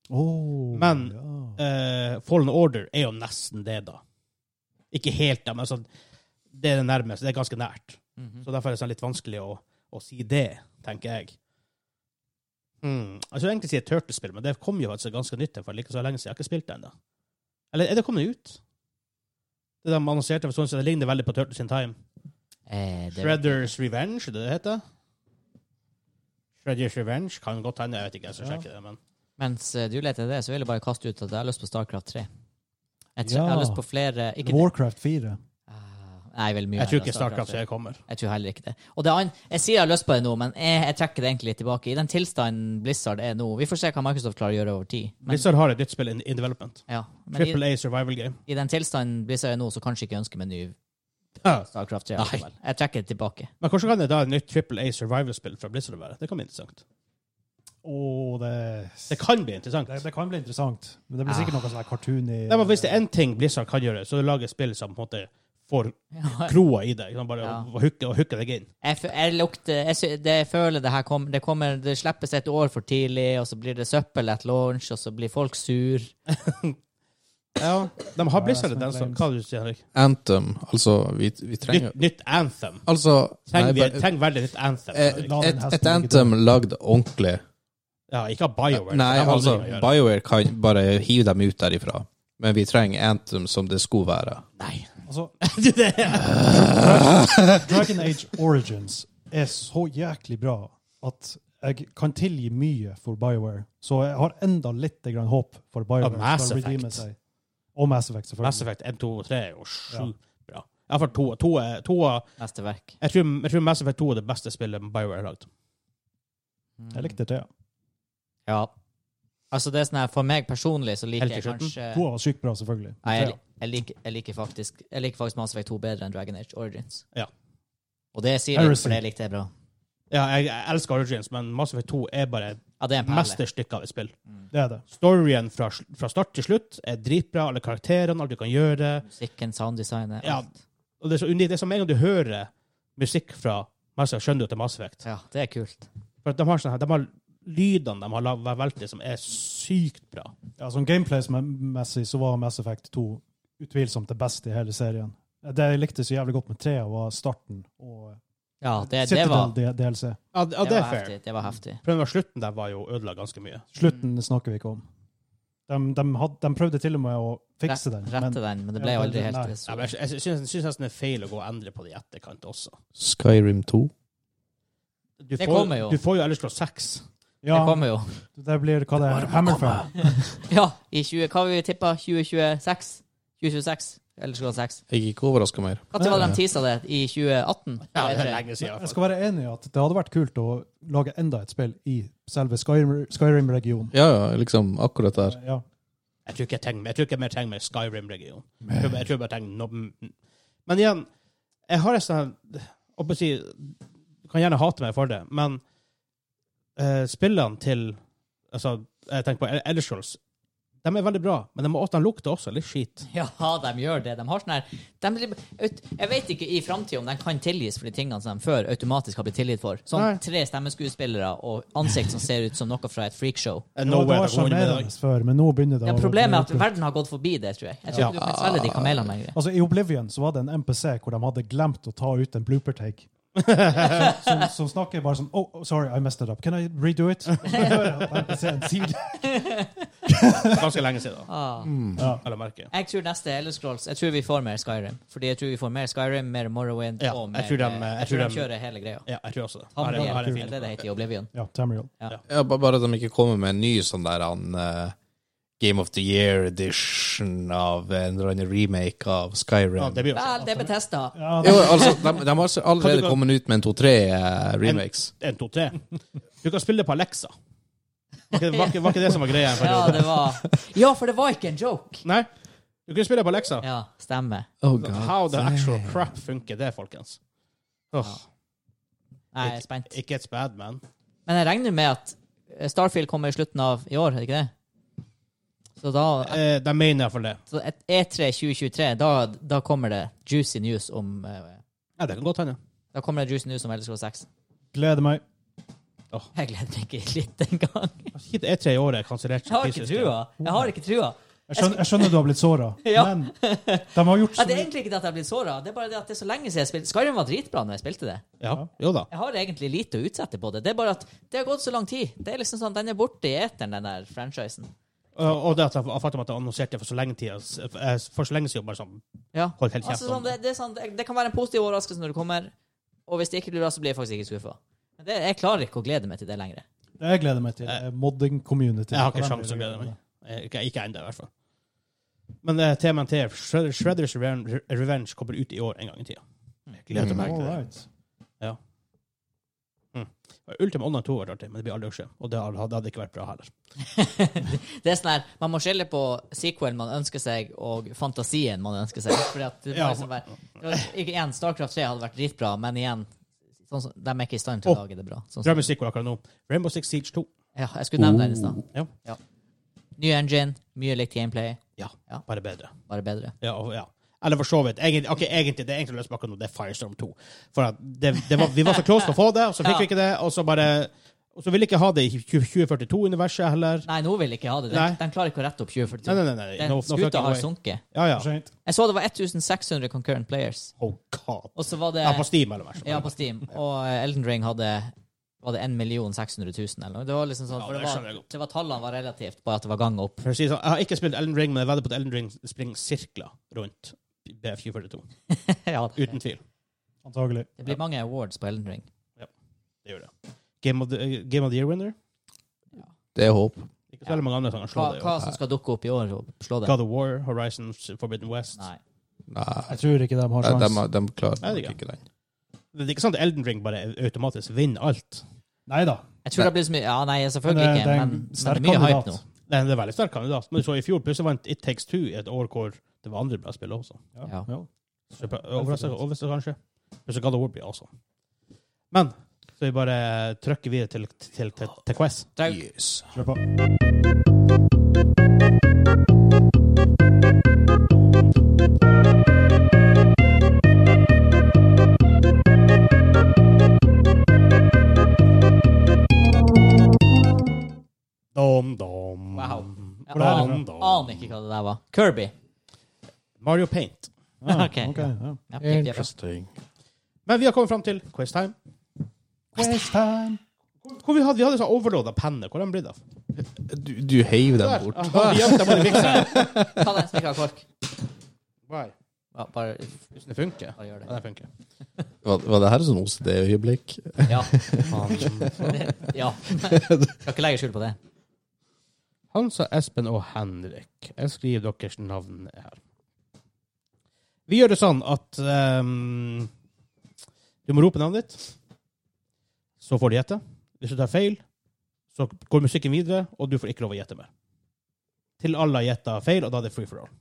[SPEAKER 3] Oh,
[SPEAKER 1] Men-
[SPEAKER 3] ja.
[SPEAKER 1] Eh, Fallen Order er jo nesten det, da. Ikke helt, da, men sånn, det er det nærmeste. Det er ganske nært.
[SPEAKER 5] Mhm.
[SPEAKER 1] Så derfor er det sånn litt vanskelig å, å si det, tenker jeg. Mm. Jeg skulle egentlig si et turtlespill, men det kom jo altså ganske nytt. For like så lenge siden jeg har ikke spilt det ennå. Eller er det kommet ut? Det de annonserte for sånn, så det ligner veldig på Turtles in Time.
[SPEAKER 5] Eh, det,
[SPEAKER 1] Shredders Revenge, er det det heter? Shredders Revenge kan godt hende. Jeg vet ikke, jeg skal
[SPEAKER 3] Ja.
[SPEAKER 1] sjekke det. men...
[SPEAKER 5] Mens eh, du leter etter det, så vil jeg bare kaste ut at jeg har lyst på Starcraft 3. Jeg, tror,
[SPEAKER 3] Ja.
[SPEAKER 5] jeg har lyst på flere
[SPEAKER 1] eh,
[SPEAKER 5] ikke,
[SPEAKER 3] Warcraft 4.
[SPEAKER 5] Ah, Nei, vel mye.
[SPEAKER 1] Jeg tror
[SPEAKER 5] heller
[SPEAKER 1] ikke Starcraft 3 kommer.
[SPEAKER 5] Jeg tror heller ikke det. Og det an jeg sier jeg har lyst på det nå, men jeg, jeg trekker det egentlig litt tilbake. I den tilstanden Blizzard er nå Vi får se hva Microsoft klarer å gjøre over tid. Men,
[SPEAKER 1] Blizzard har et nytt spill in, in development.
[SPEAKER 5] ja, men i,
[SPEAKER 1] Triple A survival game.
[SPEAKER 5] i den tilstanden Blizzard er nå, så kanskje ikke ønsker meg ny
[SPEAKER 1] Ja.
[SPEAKER 5] Starcraft 3. likevel. Jeg trekker det tilbake.
[SPEAKER 1] Men hvordan kan det da et nytt Triple A survival-spill fra Blizzard være? Det kan bli interessant.
[SPEAKER 3] Åh, det,
[SPEAKER 1] Det kan bli interessant.
[SPEAKER 3] det, det kan bli interessant. Men det blir sikkert noe sånn her cartoon i
[SPEAKER 1] Nei, men hvis det er én ting Blizzard kan gjøre, så er det å lage spill som på en måte får
[SPEAKER 5] Ja.
[SPEAKER 1] kroa i deg. Ikke sant? Bare
[SPEAKER 5] Ja.
[SPEAKER 1] å, å hooke- å hooke deg inn.
[SPEAKER 5] Jeg, fø- jeg lukter jeg, sy- det, jeg føler det her kom, det kommer Det slippes et år for tidlig, og så blir det søppel at launch, og så blir folk sur.
[SPEAKER 1] Ja, De har Blizzard i den, så
[SPEAKER 3] Sometimes.
[SPEAKER 1] hva du sier Henrik?
[SPEAKER 4] Anthem, altså Vi, vi trenger
[SPEAKER 1] Nytt, nytt Anthem.
[SPEAKER 4] Altså
[SPEAKER 1] Trenger,
[SPEAKER 4] nei,
[SPEAKER 1] vi, trenger veldig nytt Anthem.
[SPEAKER 4] eh,
[SPEAKER 1] Henrik.
[SPEAKER 3] La den
[SPEAKER 4] et,
[SPEAKER 3] hesten
[SPEAKER 4] et
[SPEAKER 3] ligge
[SPEAKER 4] Anthem lagd ordentlig.
[SPEAKER 1] Ja, ikke av BioWare.
[SPEAKER 4] eh, Nei,
[SPEAKER 1] Det har
[SPEAKER 4] altså,
[SPEAKER 1] aldri noe å gjøre.
[SPEAKER 4] BioWare kan bare hive dem ut derifra. Men vi trenger Anthem som det skulle være.
[SPEAKER 3] altså,
[SPEAKER 1] Det er-
[SPEAKER 3] Dragon Age Origins er så jæklig bra at jeg kan tilgi mye for BioWare. Så jeg har enda litt grann håp for BioWare.
[SPEAKER 1] Og Mass
[SPEAKER 3] skal redeeme
[SPEAKER 1] Effect.
[SPEAKER 3] seg. Og Mass Effect, selvfølgelig.
[SPEAKER 1] Mass Effect 1, 2 og 3 er jo sjukt bra. Iallfall to. to, er- to er-
[SPEAKER 5] Neste verk.
[SPEAKER 1] jeg, tror, jeg tror Mass Effect 2 er det beste spillet BioWare har lagd.
[SPEAKER 3] Jeg likte det.
[SPEAKER 5] Ja. Altså, det er sånn her For meg personlig så liker
[SPEAKER 1] Helt
[SPEAKER 5] jeg
[SPEAKER 1] til slutten.
[SPEAKER 5] kanskje
[SPEAKER 3] To var sykt bra, selvfølgelig.
[SPEAKER 5] Eh. Nei, jeg,
[SPEAKER 3] Trea.
[SPEAKER 5] jeg, liker, jeg, liker faktisk, jeg liker faktisk Mass Effect 2 bedre enn Dragon Age Origins.
[SPEAKER 1] Ja.
[SPEAKER 5] Og det sier jeg,
[SPEAKER 3] Heresy.
[SPEAKER 5] for det likte jeg bra.
[SPEAKER 1] Ja, jeg, jeg elsker Origins, men Mass Effect 2 er bare et
[SPEAKER 5] Ja, det er en perle.
[SPEAKER 1] mesterstykke av et spill.
[SPEAKER 3] Det er det.
[SPEAKER 1] Storyen fra, fra start til slutt er dritbra. Alle karakterene, alt du kan gjøre.
[SPEAKER 5] Musikken, sounddesignet,
[SPEAKER 1] Ja.
[SPEAKER 5] alt.
[SPEAKER 1] Og det er så unikt. Det er som en gang du hører musikk fra Mass Effect, skjønner du at det er Mass Effect.
[SPEAKER 5] Ja, det er kult.
[SPEAKER 1] For at de har, sånne, her- de har lydene de har lag- valgt til, som er sykt bra.
[SPEAKER 3] Ja, sånn gameplay-messig så var Mass Effect 2 utvilsomt det beste i hele serien. Det jeg likte så jævlig godt med trea, var starten og
[SPEAKER 5] Ja, det, det, var,
[SPEAKER 3] Citadel DLC.
[SPEAKER 1] Ja, det, ja,
[SPEAKER 5] det
[SPEAKER 1] det
[SPEAKER 5] var
[SPEAKER 1] er fair.
[SPEAKER 5] heftig. Det var heftig.
[SPEAKER 1] For den var slutten der var jo ødela ganske mye.
[SPEAKER 3] Slutten
[SPEAKER 5] Mm.
[SPEAKER 3] snakker vi ikke om. De, de, had, de prøvde til og med å fikse den, men
[SPEAKER 5] Rette den, men det ble
[SPEAKER 3] Ja,
[SPEAKER 5] aldri
[SPEAKER 3] det- nei.
[SPEAKER 5] helt
[SPEAKER 1] Ja,
[SPEAKER 5] så
[SPEAKER 1] men jeg jeg syns syns nesten det er feil å gå og endre på det i etterkant også.
[SPEAKER 4] Skyrim 2.
[SPEAKER 1] Du
[SPEAKER 5] Det
[SPEAKER 1] får,
[SPEAKER 5] kommer jo.
[SPEAKER 1] Du får jo ellers slå seks.
[SPEAKER 3] ja,
[SPEAKER 5] Det kommer jo.
[SPEAKER 3] det blir hva det er. Hammerfell.
[SPEAKER 5] Ja, i 20, hva har vi tippa? 2026? 2026? Eller skal det være 6?
[SPEAKER 4] Jeg er ikke overraska mer.
[SPEAKER 5] Når var det de teasa det? I 2018?
[SPEAKER 1] Ja, det er
[SPEAKER 5] Eller?
[SPEAKER 1] lenge siden. i
[SPEAKER 3] Jeg
[SPEAKER 1] hvert
[SPEAKER 3] skal være enig i at det hadde vært kult å lage enda et spill i selve Skyrim- Skyrim-regionen.
[SPEAKER 4] Ja, ja, liksom akkurat der.
[SPEAKER 3] ja.
[SPEAKER 1] fall. Jeg tror ikke jeg trenger, jeg tror ikke jeg mer trenger mer Skyrim-region. Jeg tror bare- jeg tror bare jeg trenger noe Men igjen, jeg har en sånn holdt på å si, Du kan gjerne hate meg for det, men eh, spillene til altså, Jeg tenker på Elder Scrolls. De er veldig bra, men de, må, de lukter også litt skit.
[SPEAKER 5] Ja, de gjør det. De har sånn her de, blir- ut- Jeg vet ikke i framtida om de kan tilgis for de tingene som de før automatisk har blitt tilgitt for.
[SPEAKER 1] Nei.
[SPEAKER 5] Sånn tre stemmeskuespillere og ansikt som ser ut som noe fra et freakshow.
[SPEAKER 3] Det var-
[SPEAKER 1] Eh,
[SPEAKER 3] det
[SPEAKER 1] Nowhere
[SPEAKER 3] var
[SPEAKER 1] to go in
[SPEAKER 3] sjarmerende
[SPEAKER 1] med.
[SPEAKER 3] før, men nå begynner det
[SPEAKER 5] Ja,
[SPEAKER 3] å-
[SPEAKER 5] problemet er at verden har gått forbi det, tror jeg. Jeg tror
[SPEAKER 1] Ja.
[SPEAKER 5] ikke du kan svelge de kamelene lenger.
[SPEAKER 3] Altså, I Oblivion så var det en MPC hvor de hadde glemt å ta ut en blooper take. som, som snakker bare sånn Oh, oh, sorry, I messed it up. Can I redo it? Og så hører jeg at NPC-en sier det.
[SPEAKER 1] Ganske lenge siden. da.
[SPEAKER 5] Ah.
[SPEAKER 3] Ja.
[SPEAKER 1] Eller merke.
[SPEAKER 5] Jeg tror neste Elder Scrolls Jeg tror vi får mer Skyrim. Fordi jeg tror vi får mer Skyrim, mer Morrowind
[SPEAKER 1] Ja,
[SPEAKER 5] og
[SPEAKER 1] jeg
[SPEAKER 5] mer
[SPEAKER 1] tror de-
[SPEAKER 5] eh,
[SPEAKER 1] jeg
[SPEAKER 5] jeg tror
[SPEAKER 1] tror
[SPEAKER 5] de kjører hele greia.
[SPEAKER 1] Ja, jeg tror også det. Her er-
[SPEAKER 5] Tamriel,
[SPEAKER 1] her er
[SPEAKER 5] er
[SPEAKER 1] en
[SPEAKER 5] det
[SPEAKER 1] fin.
[SPEAKER 5] det heter i Oblivion.
[SPEAKER 3] Ja, Tamriel.
[SPEAKER 4] Ja, ba- bare at de ikke kommer med en ny sånn der han, eh, Game of the Year edition av en eller annen remake av Skyrim.
[SPEAKER 1] Ja, det blir sånn. også
[SPEAKER 5] Vel, det er Betesta.
[SPEAKER 3] Ja,
[SPEAKER 4] jo, altså, de, de har altså
[SPEAKER 1] Kan du
[SPEAKER 4] allerede
[SPEAKER 1] gå-
[SPEAKER 4] kommet ut med en to-tre eh, remakes.
[SPEAKER 1] en, to, tre. Du kan spille det på Alexa. Var ikke, var ikke, var ikke det som var greia? en
[SPEAKER 5] Ja,
[SPEAKER 1] periode?
[SPEAKER 5] det var Ja, for det var ikke en joke!
[SPEAKER 1] Nei, du kunne spille det på Alexa.
[SPEAKER 5] Ja, stemmer.
[SPEAKER 4] Oh,
[SPEAKER 1] How the actual crap funker det, folkens? Åh,
[SPEAKER 5] Nei, jeg er spent.
[SPEAKER 1] Ikke et spad, man.
[SPEAKER 5] Men jeg regner med at eh, Starfield kommer i slutten av i år, er det ikke det? Så da
[SPEAKER 1] Eh, de mener iallfall det.
[SPEAKER 5] så et E E3 2023, da, da kommer det juicy news om eh,
[SPEAKER 1] Ja, det kan godt hende.
[SPEAKER 5] Da kommer det juicy news om Elder Scrolls 6.
[SPEAKER 3] gleder meg.
[SPEAKER 5] Jeg gleder meg ikke litt engang.
[SPEAKER 1] Shit, Det er tre år jeg har kansellert.
[SPEAKER 5] Jeg har ikke trua. Jeg har ikke trua.
[SPEAKER 3] Jeg skjønner, jeg skjønner du har blitt såra,
[SPEAKER 5] Ja.
[SPEAKER 3] men de har gjort
[SPEAKER 5] Ja,
[SPEAKER 3] så
[SPEAKER 5] det er
[SPEAKER 3] mye.
[SPEAKER 5] egentlig ikke det at jeg har blitt såra, det er bare det at det er så lenge siden jeg spilte Skyrim var dritbra når jeg spilte det.
[SPEAKER 1] Ja, jo da.
[SPEAKER 5] Jeg har egentlig lite å utsette på det. Det er bare at det har gått så lang tid. Det er liksom sånn, Den er borte i eteren, den der franchisen.
[SPEAKER 1] Og og det at jeg jeg fatter at jeg annonserte for så lenge tid, eh, for så lenge siden bare sånn,
[SPEAKER 5] Ja.
[SPEAKER 1] holdt helt kjeft
[SPEAKER 5] Altså, sånn,
[SPEAKER 1] om
[SPEAKER 5] det,
[SPEAKER 1] det.
[SPEAKER 5] det, er sånn, det, det kan være en positiv overraskelse når du kommer, og hvis det ikke blir bra, så blir jeg faktisk ikke skuffa. Jeg klarer ikke å glede meg til det lenger.
[SPEAKER 3] Det jeg gleder meg til, er modding community.
[SPEAKER 1] Jeg har ikke
[SPEAKER 3] Hva de
[SPEAKER 1] sjans å
[SPEAKER 3] gjør.
[SPEAKER 1] glede meg. Eh, Ikke, ikke ennå, i hvert fall. Men eh, TMNT, Shred- Shredders Reven- Re- Revenge, kommer ut i år en gang i tida. Jeg gleder meg til
[SPEAKER 3] All
[SPEAKER 1] det.
[SPEAKER 3] right.
[SPEAKER 1] Ultima Online 2 har vært artig, men det blir aldri å skje. Og det hadde det hadde ikke vært bra heller.
[SPEAKER 5] Det er sånn her, Man må skille på sequel man ønsker seg, og fantasien man ønsker seg. Fordi at det
[SPEAKER 1] Ja.
[SPEAKER 5] var liksom bare, det var, ikke igjen, Starcraft 3 hadde vært dritbra, men igjen sånn, som- De er ikke i stand til å
[SPEAKER 1] Åh.
[SPEAKER 5] lage det bra. Sånn, som-
[SPEAKER 1] Drømmen stikker akkurat nå. Rainbow Six Siege 2.
[SPEAKER 5] ja, jeg skulle nevne det i stad.
[SPEAKER 1] Ja.
[SPEAKER 5] Ny engine, mye likt gameplay,
[SPEAKER 1] Ja,
[SPEAKER 5] Ja.
[SPEAKER 1] bare bedre.
[SPEAKER 5] bare bedre.
[SPEAKER 1] Ja, og- ja. Eller for så vidt. Egentlig, ok, egentlig, det er egentlig løsbakka nå, det er Firestorm 2. For at det, det var, vi var så close til å få det, og så fikk
[SPEAKER 5] Ja.
[SPEAKER 1] vi ikke det, og så bare Og så ville vi ikke ha det i 2042-universet heller.
[SPEAKER 5] Nei, nå vil jeg ikke ha det. De,
[SPEAKER 1] Nei.
[SPEAKER 5] de klarer ikke å rette opp
[SPEAKER 1] Nei,
[SPEAKER 5] 2042.
[SPEAKER 1] nei, nei. nei.
[SPEAKER 5] Den
[SPEAKER 1] No, no
[SPEAKER 5] skuta
[SPEAKER 1] fucking
[SPEAKER 5] har
[SPEAKER 1] way.
[SPEAKER 5] sunket.
[SPEAKER 1] Ja, ja.
[SPEAKER 3] For sent.
[SPEAKER 5] Jeg så det var 1600 concurrent players.
[SPEAKER 1] Oh god.
[SPEAKER 5] Og så var det
[SPEAKER 1] Ja, på Steam, eller hva som
[SPEAKER 5] Ja, på Steam. Og eh, Elden Ring hadde var det 1 600 000 eller noe. Det var liksom sånn,
[SPEAKER 1] Ja,
[SPEAKER 5] for det,
[SPEAKER 1] det skjønner jeg
[SPEAKER 5] var, det var Tallene var relativt, bare at det var gang opp.
[SPEAKER 1] For å si det sånn, Jeg har ikke spilt Ellen Ring, men jeg vedder på at Ellen Ring springer sirkler rundt B442.
[SPEAKER 5] ja, det,
[SPEAKER 1] Uten tvil.
[SPEAKER 3] Antagelig.
[SPEAKER 5] det blir mange awards på Elden Ring.
[SPEAKER 1] Det gjør det. Game of the, eh, Game of the Year winner.
[SPEAKER 4] Det er håp.
[SPEAKER 1] Ikke så veldig mange andre som kan slå
[SPEAKER 5] Hva,
[SPEAKER 1] det.
[SPEAKER 5] hva
[SPEAKER 1] jo.
[SPEAKER 5] som skal dukke opp i år og slå det?
[SPEAKER 1] God of War, Horizon, Forbidden West.
[SPEAKER 5] Nei.
[SPEAKER 4] Nei,
[SPEAKER 3] Jeg tror ikke de har
[SPEAKER 4] de,
[SPEAKER 3] sjans.
[SPEAKER 4] de klarer
[SPEAKER 1] Nei, det
[SPEAKER 4] nok
[SPEAKER 1] er
[SPEAKER 4] ikke den.
[SPEAKER 1] Det er ikke sant at Elden Ring bare automatisk vinner alt.
[SPEAKER 3] Nei da.
[SPEAKER 5] Jeg tror det blir så mye Ja, nei, selvfølgelig
[SPEAKER 3] Men det-
[SPEAKER 5] ikke,
[SPEAKER 3] det er en
[SPEAKER 5] men, men det
[SPEAKER 3] sterk
[SPEAKER 5] er mye
[SPEAKER 3] kandidat.
[SPEAKER 5] hype nå.
[SPEAKER 1] Det er en veldig sterk kandidat. Men du så i fjor plutselig vant It Takes Two i et år hvor det var andre bra spill også.
[SPEAKER 5] Ja.
[SPEAKER 3] Ja.
[SPEAKER 1] Overraskelse, overraskelse kanskje. Men så God of War blir også. Men så vi bare trykker videre til, til, til, til Quest.
[SPEAKER 5] Drag,
[SPEAKER 4] Yes.
[SPEAKER 3] Kjør på.
[SPEAKER 1] Dom, dom.
[SPEAKER 5] Wow. Jeg
[SPEAKER 1] Hvordan er det?
[SPEAKER 5] aner, aner ikke hva det der var. Kirby.
[SPEAKER 1] Mario Paint.
[SPEAKER 3] Ja,
[SPEAKER 5] Ok.
[SPEAKER 3] ok, ja.
[SPEAKER 5] Ja, jepp, jepp.
[SPEAKER 4] Interesting.
[SPEAKER 1] Men vi har kommet fram til Quest Time.
[SPEAKER 3] Quest time.
[SPEAKER 1] Hvor vi hadde, vi hadde sånn overloada penner. Hvor er de blitt av?
[SPEAKER 4] Du, du heiv den
[SPEAKER 1] Der.
[SPEAKER 4] bort.
[SPEAKER 1] Aha, vi gjemte dem bare i mikseren.
[SPEAKER 5] Ta den som ikke har kork.
[SPEAKER 1] Why?
[SPEAKER 5] Ja, bare,
[SPEAKER 1] Hvis det funker.
[SPEAKER 5] bare gjør
[SPEAKER 1] Ja,
[SPEAKER 5] det.
[SPEAKER 1] det funker.
[SPEAKER 4] Var, var det her sånn OCD-øyeblikk?
[SPEAKER 5] Ja. ja. Skal ikke legge skjul på det.
[SPEAKER 1] Hansa, Espen og Henrik. Jeg skriver deres navn ned her. Vi gjør det sånn at ehm, du må rope navnet ditt, så får du gjette. Hvis du tar feil, så går musikken videre, og du får ikke lov å gjette mer. Til alle har gjetta feil, og da er det free for all.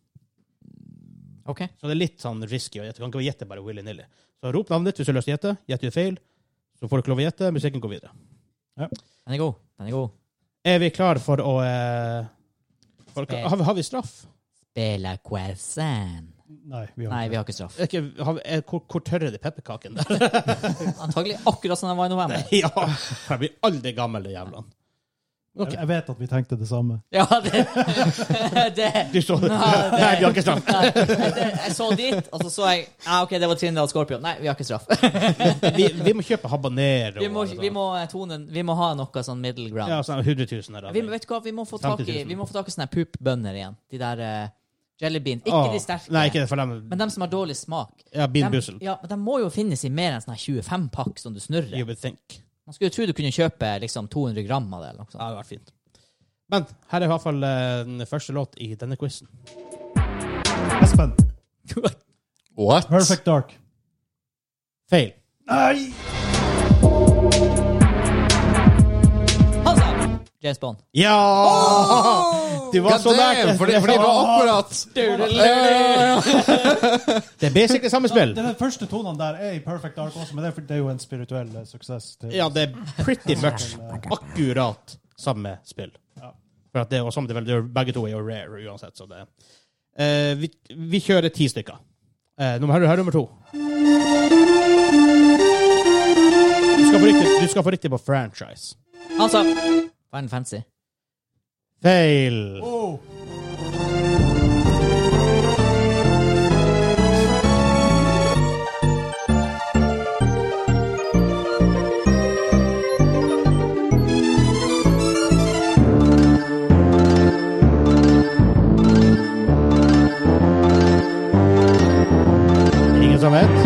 [SPEAKER 5] OK.
[SPEAKER 1] Så det er litt sånn risky å gjette. Du kan ikke gjette bare willy-nilly. Så rop navnet ditt hvis du har lyst til å gjette. Gjetter du feil, så får du ikke lov å gjette. Musikken går videre.
[SPEAKER 5] Den er god. Den er god.
[SPEAKER 1] Er vi klare for å eh, for,
[SPEAKER 5] Spill.
[SPEAKER 1] har, vi- har vi straff?
[SPEAKER 5] Bella Quasan.
[SPEAKER 3] Nei, vi har
[SPEAKER 5] Nei, vi
[SPEAKER 3] ikke.
[SPEAKER 5] har ikke straff.
[SPEAKER 1] Er Ikke, har, vi- er, hvor, hvor tørr er det pepperkaken der?
[SPEAKER 5] Antagelig akkurat som den var i november.
[SPEAKER 1] ja, jeg blir aldri gammel, de jævlene.
[SPEAKER 3] Jeg- Jeg vet at vi tenkte det samme.
[SPEAKER 5] Ja, det, det,
[SPEAKER 1] Du så det?
[SPEAKER 5] Nei, det-
[SPEAKER 1] Nei, vi har ikke straff.
[SPEAKER 5] Nei, det Jeg så dit, og så så jeg Ja, OK, det var Trindal Scorpion. Nei, vi har ikke straff.
[SPEAKER 1] Vi, vi må kjøpe habanero.
[SPEAKER 5] Vi må,
[SPEAKER 1] og sånn.
[SPEAKER 5] vi må, eh, tone, vi må ha noe sånn middle
[SPEAKER 1] Ja,
[SPEAKER 5] ground.
[SPEAKER 1] sånn 100 000 her. da.
[SPEAKER 5] Vi, må- vet du hva, vi må få tak i Vi må få tak i sånne poop-bønner igjen. De der eh, jelly bean. Ikke
[SPEAKER 1] Åh,
[SPEAKER 5] de sterke,
[SPEAKER 1] Ah, Nei, ikke det for dem.
[SPEAKER 5] men de som har dårlig smak.
[SPEAKER 1] Ja, Bean
[SPEAKER 5] De,
[SPEAKER 1] Boozled,
[SPEAKER 5] ja, men de må jo finnes i mer enn sånne 25-pakk som du
[SPEAKER 1] You
[SPEAKER 5] snurrer.
[SPEAKER 1] would think.
[SPEAKER 5] Man skulle jo tro du kunne kjøpe liksom 200 gram av det. eller noe sånt.
[SPEAKER 1] Ja, det hadde vært fint. Men her er i hvert fall eh, den første låt i denne quizen.
[SPEAKER 3] Espen.
[SPEAKER 4] What?
[SPEAKER 3] Perfect Dark.
[SPEAKER 1] Feil.
[SPEAKER 3] Nei!
[SPEAKER 5] Han sa James Bond.
[SPEAKER 1] Ja! Du var så nær.
[SPEAKER 4] Fordi, fordi det var akkurat
[SPEAKER 1] Det er basically samme spill.
[SPEAKER 3] Den første tonen der er i Perfect Dark også, men det er, for- det er jo en spirituell eh, suksess. Til.
[SPEAKER 1] Ja, det er pretty much akkurat samme spill.
[SPEAKER 3] Ja.
[SPEAKER 1] For at det er jo samme, det er vel- det er jo- begge to er jo rare uansett, så det Eh, vi, vi kjører ti stykker. Eh, nummer, her, her er nummer to. Du skal få riktig, du skal få riktig på franchise.
[SPEAKER 5] Han sa Final Fantasy.
[SPEAKER 1] Feil.
[SPEAKER 3] Oh!
[SPEAKER 1] Ingen som vet?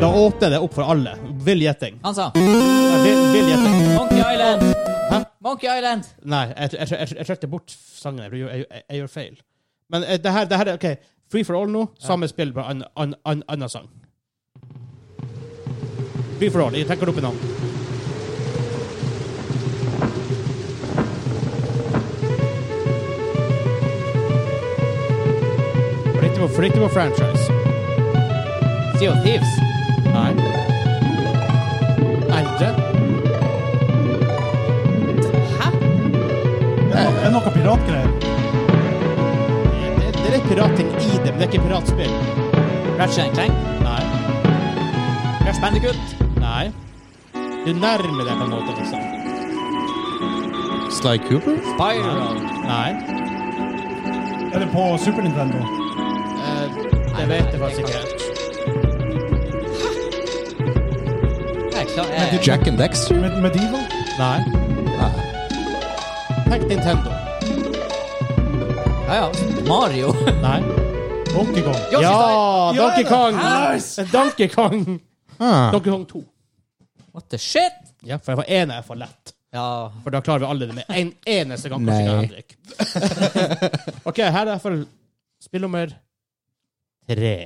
[SPEAKER 1] Da åpner det opp for alle. Vill gjetting.
[SPEAKER 5] Han sa
[SPEAKER 1] Ja, Vill, vill gjetting.
[SPEAKER 5] Monkey Island.
[SPEAKER 1] Hæ?
[SPEAKER 5] Monkey Island.
[SPEAKER 1] Nei, jeg, jeg, jeg, jeg trøtte bort sangen. Jeg, gjør- jeg, jeg, jeg gjør feil. Men eh, det her, det her er OK. Free for all nå. Samme spill, bare annen an, an, annen sang. Free for all. Jeg tenker opp en annen. Flytte på, flytte på franchise.
[SPEAKER 5] Sea of Thieves.
[SPEAKER 1] Nei. Nei, det-
[SPEAKER 5] Hæ?
[SPEAKER 3] Er det noe piratgreier?
[SPEAKER 1] det, det er litt pirating i det, men det er ikke piratspill.
[SPEAKER 5] Ratchet and Clank.
[SPEAKER 1] Nei.
[SPEAKER 5] Crash Bandicoot.
[SPEAKER 1] Nei. Du nærmer deg på en måte, liksom.
[SPEAKER 4] Sly Cooper?
[SPEAKER 5] Spiral.
[SPEAKER 1] Nei.
[SPEAKER 3] Er det på Super Nintendo?
[SPEAKER 1] Det vet Eh, jeg faktisk ikke.
[SPEAKER 5] Jeg er klar. Jeg,
[SPEAKER 4] Jack and Dexter?
[SPEAKER 3] Med Medieval?
[SPEAKER 1] Nei. Tenk Nintendo.
[SPEAKER 5] ja, ja. Mario.
[SPEAKER 1] Nei.
[SPEAKER 3] Donkey Kong?
[SPEAKER 5] Yoshi's Island.
[SPEAKER 1] Ja, Donkey
[SPEAKER 3] Ja,
[SPEAKER 1] Kong!
[SPEAKER 3] nice!
[SPEAKER 1] En Donkey Kong!
[SPEAKER 4] Ah.
[SPEAKER 1] Donkey Kong 2.
[SPEAKER 5] What the shit?
[SPEAKER 1] Ja, for jeg var enig jeg for lett.
[SPEAKER 5] Ja.
[SPEAKER 1] For da klarer vi alle det med en eneste gang. kanskje ikke
[SPEAKER 4] Nei.
[SPEAKER 1] Henrik. OK, her er iallfall spill nummer tre.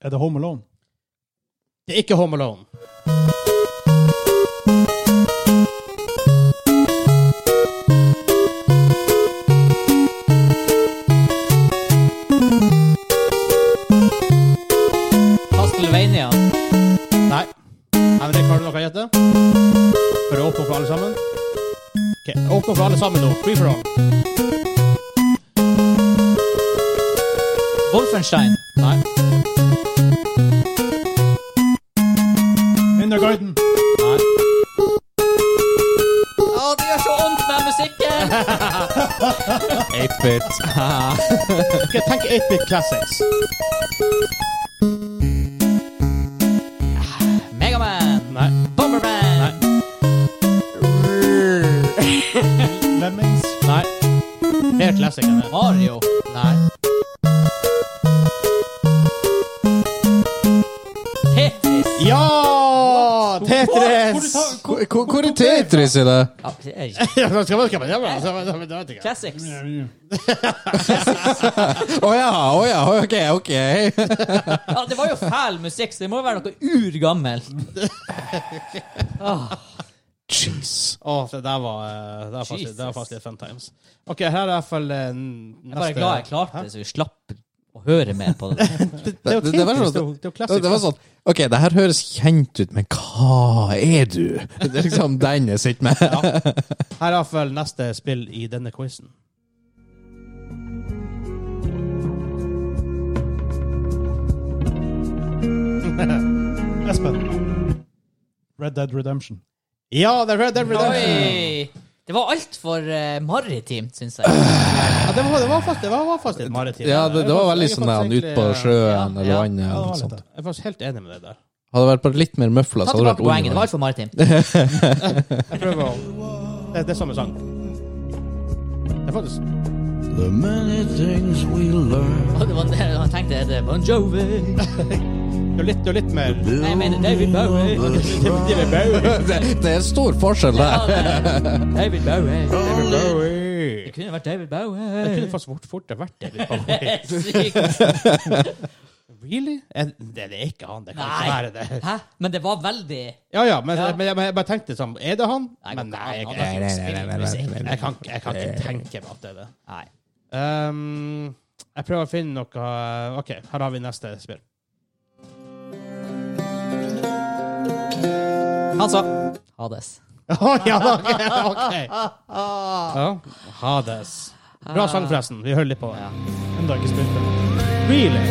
[SPEAKER 3] Er det Home Alone?
[SPEAKER 1] Det er ikke Home Alone.
[SPEAKER 5] Castlevania.
[SPEAKER 1] Nei. Henrik, har du noe å gjette? For å åpne for alle sammen? Ok, Åpne for alle sammen nå. Free for all.
[SPEAKER 5] Wolfenstein.
[SPEAKER 1] Nei.
[SPEAKER 3] Kindergarten?
[SPEAKER 1] Nei.
[SPEAKER 5] Å, det gjør så vondt med musikken!
[SPEAKER 4] 8-bit.
[SPEAKER 1] Ok, tenk 8-bit classics.
[SPEAKER 5] Megaman.
[SPEAKER 1] Nei.
[SPEAKER 5] Bomberman.
[SPEAKER 3] Lemmings?
[SPEAKER 1] Nei. Mer classic enn det.
[SPEAKER 5] Mario.
[SPEAKER 1] Nei.
[SPEAKER 5] Tetris.
[SPEAKER 1] Ja! Tetris!
[SPEAKER 4] Hvor, hvor, hvor er Tetris i det?
[SPEAKER 5] Ja, det er ikke-
[SPEAKER 1] Ja, men skal man- skal man- ja, men- så- men- men- det vet jeg ikke.
[SPEAKER 5] Classics.
[SPEAKER 4] Å ja, å ja, ok, ok.
[SPEAKER 5] Ja, det var jo fæl musikk, så det må jo være noe urgammelt.
[SPEAKER 4] Jeez.
[SPEAKER 1] Åh, det der var, eh, det var faktisk- det var
[SPEAKER 5] Jesus.
[SPEAKER 1] faktisk litt fun times. Ok, her er i hvert fall eh, n-
[SPEAKER 5] Jeg er bare
[SPEAKER 1] neste
[SPEAKER 5] glad jeg klarte det, så vi slapp å høre mer på det.
[SPEAKER 1] Det, det er jo
[SPEAKER 4] Det- det var
[SPEAKER 1] Tetris, det
[SPEAKER 4] sånn-
[SPEAKER 1] er jo- det er jo
[SPEAKER 4] Det,
[SPEAKER 1] classic.
[SPEAKER 4] det var sånn OK, det her høres kjent ut, men hva er du? Det er liksom den jeg sitter med.
[SPEAKER 1] Her er i hvert fall neste spill i denne quizen.
[SPEAKER 3] Espen? Red Dead Redemption?
[SPEAKER 1] Ja, det er Red Dead Redemption.
[SPEAKER 5] Oi! Det var altfor uh, maritimt, syns jeg.
[SPEAKER 1] Ja, det var, det var faktisk, det var, var faktisk litt maritimt. eh,
[SPEAKER 4] Ja, det, det var veldig sånn der ut på sjøen
[SPEAKER 5] Ja,
[SPEAKER 4] eller
[SPEAKER 5] ja.
[SPEAKER 4] vannet
[SPEAKER 3] Ja, det var
[SPEAKER 4] eller noe
[SPEAKER 3] litt
[SPEAKER 4] sånt.
[SPEAKER 3] det.
[SPEAKER 1] Jeg er faktisk helt enig med deg der.
[SPEAKER 4] Hadde det vært bare litt mer møfler,
[SPEAKER 5] Ta
[SPEAKER 4] så hadde det
[SPEAKER 5] tilbake poenget.
[SPEAKER 4] vært
[SPEAKER 5] Det var altfor
[SPEAKER 4] undervann.
[SPEAKER 5] maritimt.
[SPEAKER 1] Jeg prøver å... Det, det er samme sang. Det er faktisk...
[SPEAKER 2] The many things we learn.
[SPEAKER 5] Og det var det jeg tenkte. Er det Bon Jovi?
[SPEAKER 1] Det er litt, det er litt mer
[SPEAKER 5] Nei, jeg mener David Bowie.
[SPEAKER 1] David Bowie.
[SPEAKER 4] Det, det er stor forskjell
[SPEAKER 5] Ja,
[SPEAKER 4] der.
[SPEAKER 5] det- David Bowie.
[SPEAKER 1] David
[SPEAKER 5] Det
[SPEAKER 1] Bowie.
[SPEAKER 5] kunne vært
[SPEAKER 1] Det
[SPEAKER 5] David Bowie.
[SPEAKER 1] kunne faktisk fort, fort ha vært David Bowie.
[SPEAKER 5] Sykt.
[SPEAKER 1] Really? Eh, Det det er ikke han. Det kan
[SPEAKER 5] Nei.
[SPEAKER 1] ikke være det.
[SPEAKER 5] Hæ? Men det var veldig
[SPEAKER 1] Ja, ja, men,
[SPEAKER 5] Ja.
[SPEAKER 1] men jeg- men jeg bare tenkte sånn Er det han?
[SPEAKER 5] Nei,
[SPEAKER 1] Men nei, jeg,
[SPEAKER 5] han-
[SPEAKER 1] jeg,
[SPEAKER 5] han-
[SPEAKER 4] Nei, nei, nei, nei, nei, nei, nei.
[SPEAKER 1] jeg, kan, jeg kan ikke tenke meg at det er det.
[SPEAKER 5] Nei.
[SPEAKER 1] Ehm, jeg prøver å finne noe OK, her har vi neste spill.
[SPEAKER 5] Han sa Hades.
[SPEAKER 1] Å, ja, ok. ok. Ja. Hades. Bra sang, forresten. Vi hører litt på den.
[SPEAKER 3] Enda ikke spilt det.
[SPEAKER 1] Really?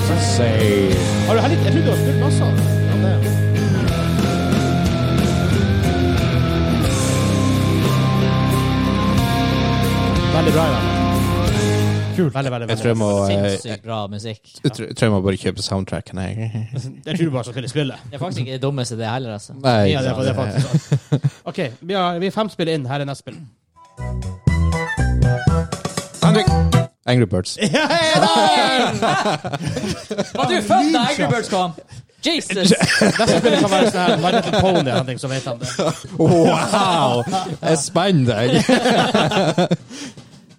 [SPEAKER 1] Har du heller, jeg trodde du hadde spilt masse av den. Ja, det. Veldig bra, ja.
[SPEAKER 3] Kult.
[SPEAKER 1] Veldig, veldig,
[SPEAKER 4] Jeg tror
[SPEAKER 1] veldig.
[SPEAKER 4] jeg må, eh, jeg,
[SPEAKER 5] Sinnssykt bra musikk.
[SPEAKER 4] jeg tror- jeg tror jeg må bare kjøpe soundtracken, jeg.
[SPEAKER 1] Jeg tror du bare skal spille spillet.
[SPEAKER 5] Det er faktisk ikke det dummeste, det heller, altså.
[SPEAKER 4] Nei,
[SPEAKER 1] Ja, det er, det er
[SPEAKER 4] ikke sant.
[SPEAKER 1] faktisk sant. OK, vi, har, vi er fem spill inn. Her er neste spill.
[SPEAKER 4] Henrik! Angry Birds.
[SPEAKER 5] Var du født da Angry Birds kom? Jesus!
[SPEAKER 1] Neste spill kan være sånn her My Little Pony eller noe, så vet han det.
[SPEAKER 4] Wow! Jeg spenner deg!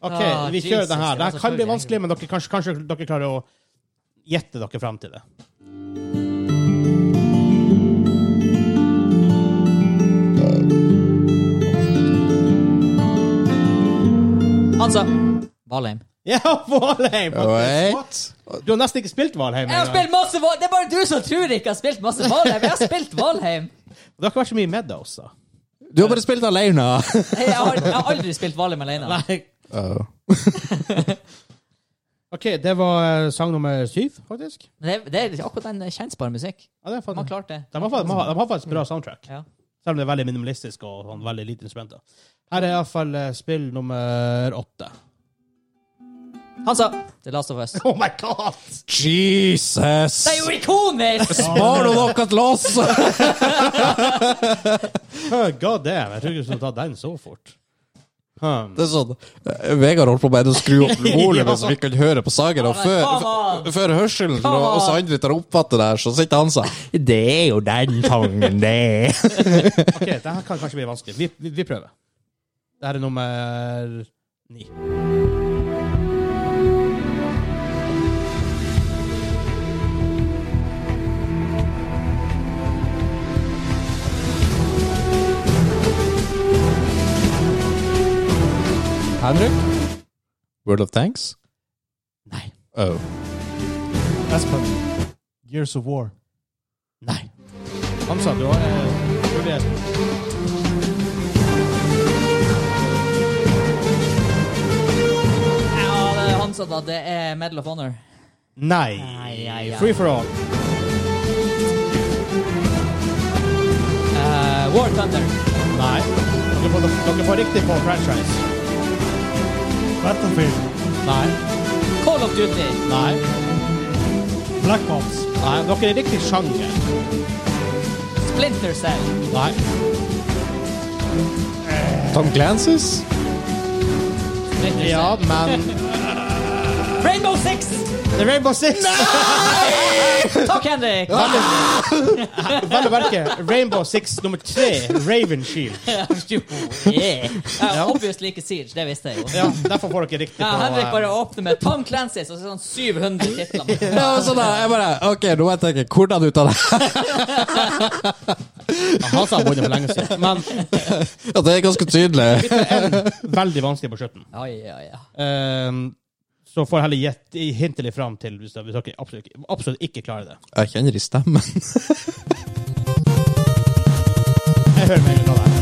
[SPEAKER 1] OK,
[SPEAKER 5] Ah,
[SPEAKER 1] vi
[SPEAKER 5] Jesus,
[SPEAKER 1] kjører den her.
[SPEAKER 5] det var
[SPEAKER 1] Det
[SPEAKER 5] så
[SPEAKER 1] her kan
[SPEAKER 5] stor
[SPEAKER 1] bli vanskelig, men dere, kanskje, kanskje dere klarer å gjette dere fram til det.
[SPEAKER 5] Hansa. Valheim.
[SPEAKER 1] Ja, Valheim!
[SPEAKER 4] Oi.
[SPEAKER 3] What?
[SPEAKER 1] Du har nesten ikke spilt Valheim.
[SPEAKER 5] Jeg har
[SPEAKER 1] engang.
[SPEAKER 5] spilt masse Valheim! Det er bare du som tror jeg ikke har spilt masse Valheim! Jeg har spilt Valheim!
[SPEAKER 1] Det har ikke vært så mye med deg også.
[SPEAKER 4] Du har bare spilt alene!
[SPEAKER 5] Jeg har, jeg har aldri spilt Valheim alene.
[SPEAKER 1] Nei.
[SPEAKER 4] Oh.
[SPEAKER 1] OK, det var eh, sang nummer syv, faktisk.
[SPEAKER 5] Men det, det er akkurat den kjensbare musikk.
[SPEAKER 1] Ja, det er
[SPEAKER 5] Man
[SPEAKER 1] faktisk.
[SPEAKER 5] klarte det.
[SPEAKER 1] De har fa- de har de har faktisk bra soundtrack,
[SPEAKER 5] Ja.
[SPEAKER 1] selv om det er veldig minimalistisk og sånn veldig lite instrumenter. Her er iallfall eh, spill nummer åtte.
[SPEAKER 5] Hansa. The Last of Us.
[SPEAKER 1] Oh my god!
[SPEAKER 4] Jesus!
[SPEAKER 5] Det er jo ikonisk!
[SPEAKER 4] Spar nå noe til oss!
[SPEAKER 1] God damn, jeg tror ikke du skulle tatt den så fort. Hmm.
[SPEAKER 4] Det er sånn, eh, Vegard holdt på med å skru opp volumet, så vi kan høre på sangen. Og før,
[SPEAKER 5] Come
[SPEAKER 4] f- før hørselen
[SPEAKER 5] Come
[SPEAKER 4] og oss
[SPEAKER 5] on.
[SPEAKER 4] andre tar oppfattet det her, så sitter han sånn Det er jo den sangen, det!
[SPEAKER 1] Ok, det her kan kanskje bli vanskelig. Vi, vi, vi prøver. Det her er nummer ni.
[SPEAKER 4] Henrik? World of Tanks?
[SPEAKER 1] Nei.
[SPEAKER 4] Oh.
[SPEAKER 3] Espen. Gears of War.
[SPEAKER 1] Nei. Han sa du har eh, du vet.
[SPEAKER 5] Ja, det er Hansa, da. Det er Medal of Honor.
[SPEAKER 1] Nei.
[SPEAKER 5] Ai, ai, ai.
[SPEAKER 1] Free for all.
[SPEAKER 5] Eh, War Thunder.
[SPEAKER 1] Nei. Dere får, dere får riktig på franchise.
[SPEAKER 3] Battlefield.
[SPEAKER 1] Nei.
[SPEAKER 5] Call of Duty.
[SPEAKER 1] Nei.
[SPEAKER 3] Black Ops.
[SPEAKER 1] Nei. Dere er riktig sjanger.
[SPEAKER 5] Splinter Cell.
[SPEAKER 1] Nei.
[SPEAKER 4] Tom Clancy's?
[SPEAKER 5] Splinter Cell.
[SPEAKER 1] Ja, men
[SPEAKER 5] Rainbow Six!
[SPEAKER 1] The Rainbow Six!
[SPEAKER 5] Takk, Henrik!
[SPEAKER 1] Vel å merke, Rainbow Six nummer tre, Raven Shield.
[SPEAKER 5] Jo, yeah. Jeg har obviously ikke Siege, det visste jeg jo.
[SPEAKER 1] Ja, derfor får dere riktig på
[SPEAKER 5] Ja, Henrik
[SPEAKER 1] eh,
[SPEAKER 5] bare åpner med Tom Clancy, så er det sånn 700 titler. med.
[SPEAKER 4] Ja, og sånn da, jeg bare OK, nå må jeg tenke hvordan ut av det her?
[SPEAKER 1] Han sa vunnet for lenge siden, men
[SPEAKER 4] Ja, Det er ganske tydelig.
[SPEAKER 1] veldig vanskelig på slutten.
[SPEAKER 5] Ja, ja, ja.
[SPEAKER 1] Ehm, så får jeg heller gjette hint litt fram til hvis dere- hvis dere absolutt, ikke- absolutt ikke klarer det.
[SPEAKER 4] Jeg kjenner i stemmen.
[SPEAKER 1] Jeg hører meg hva det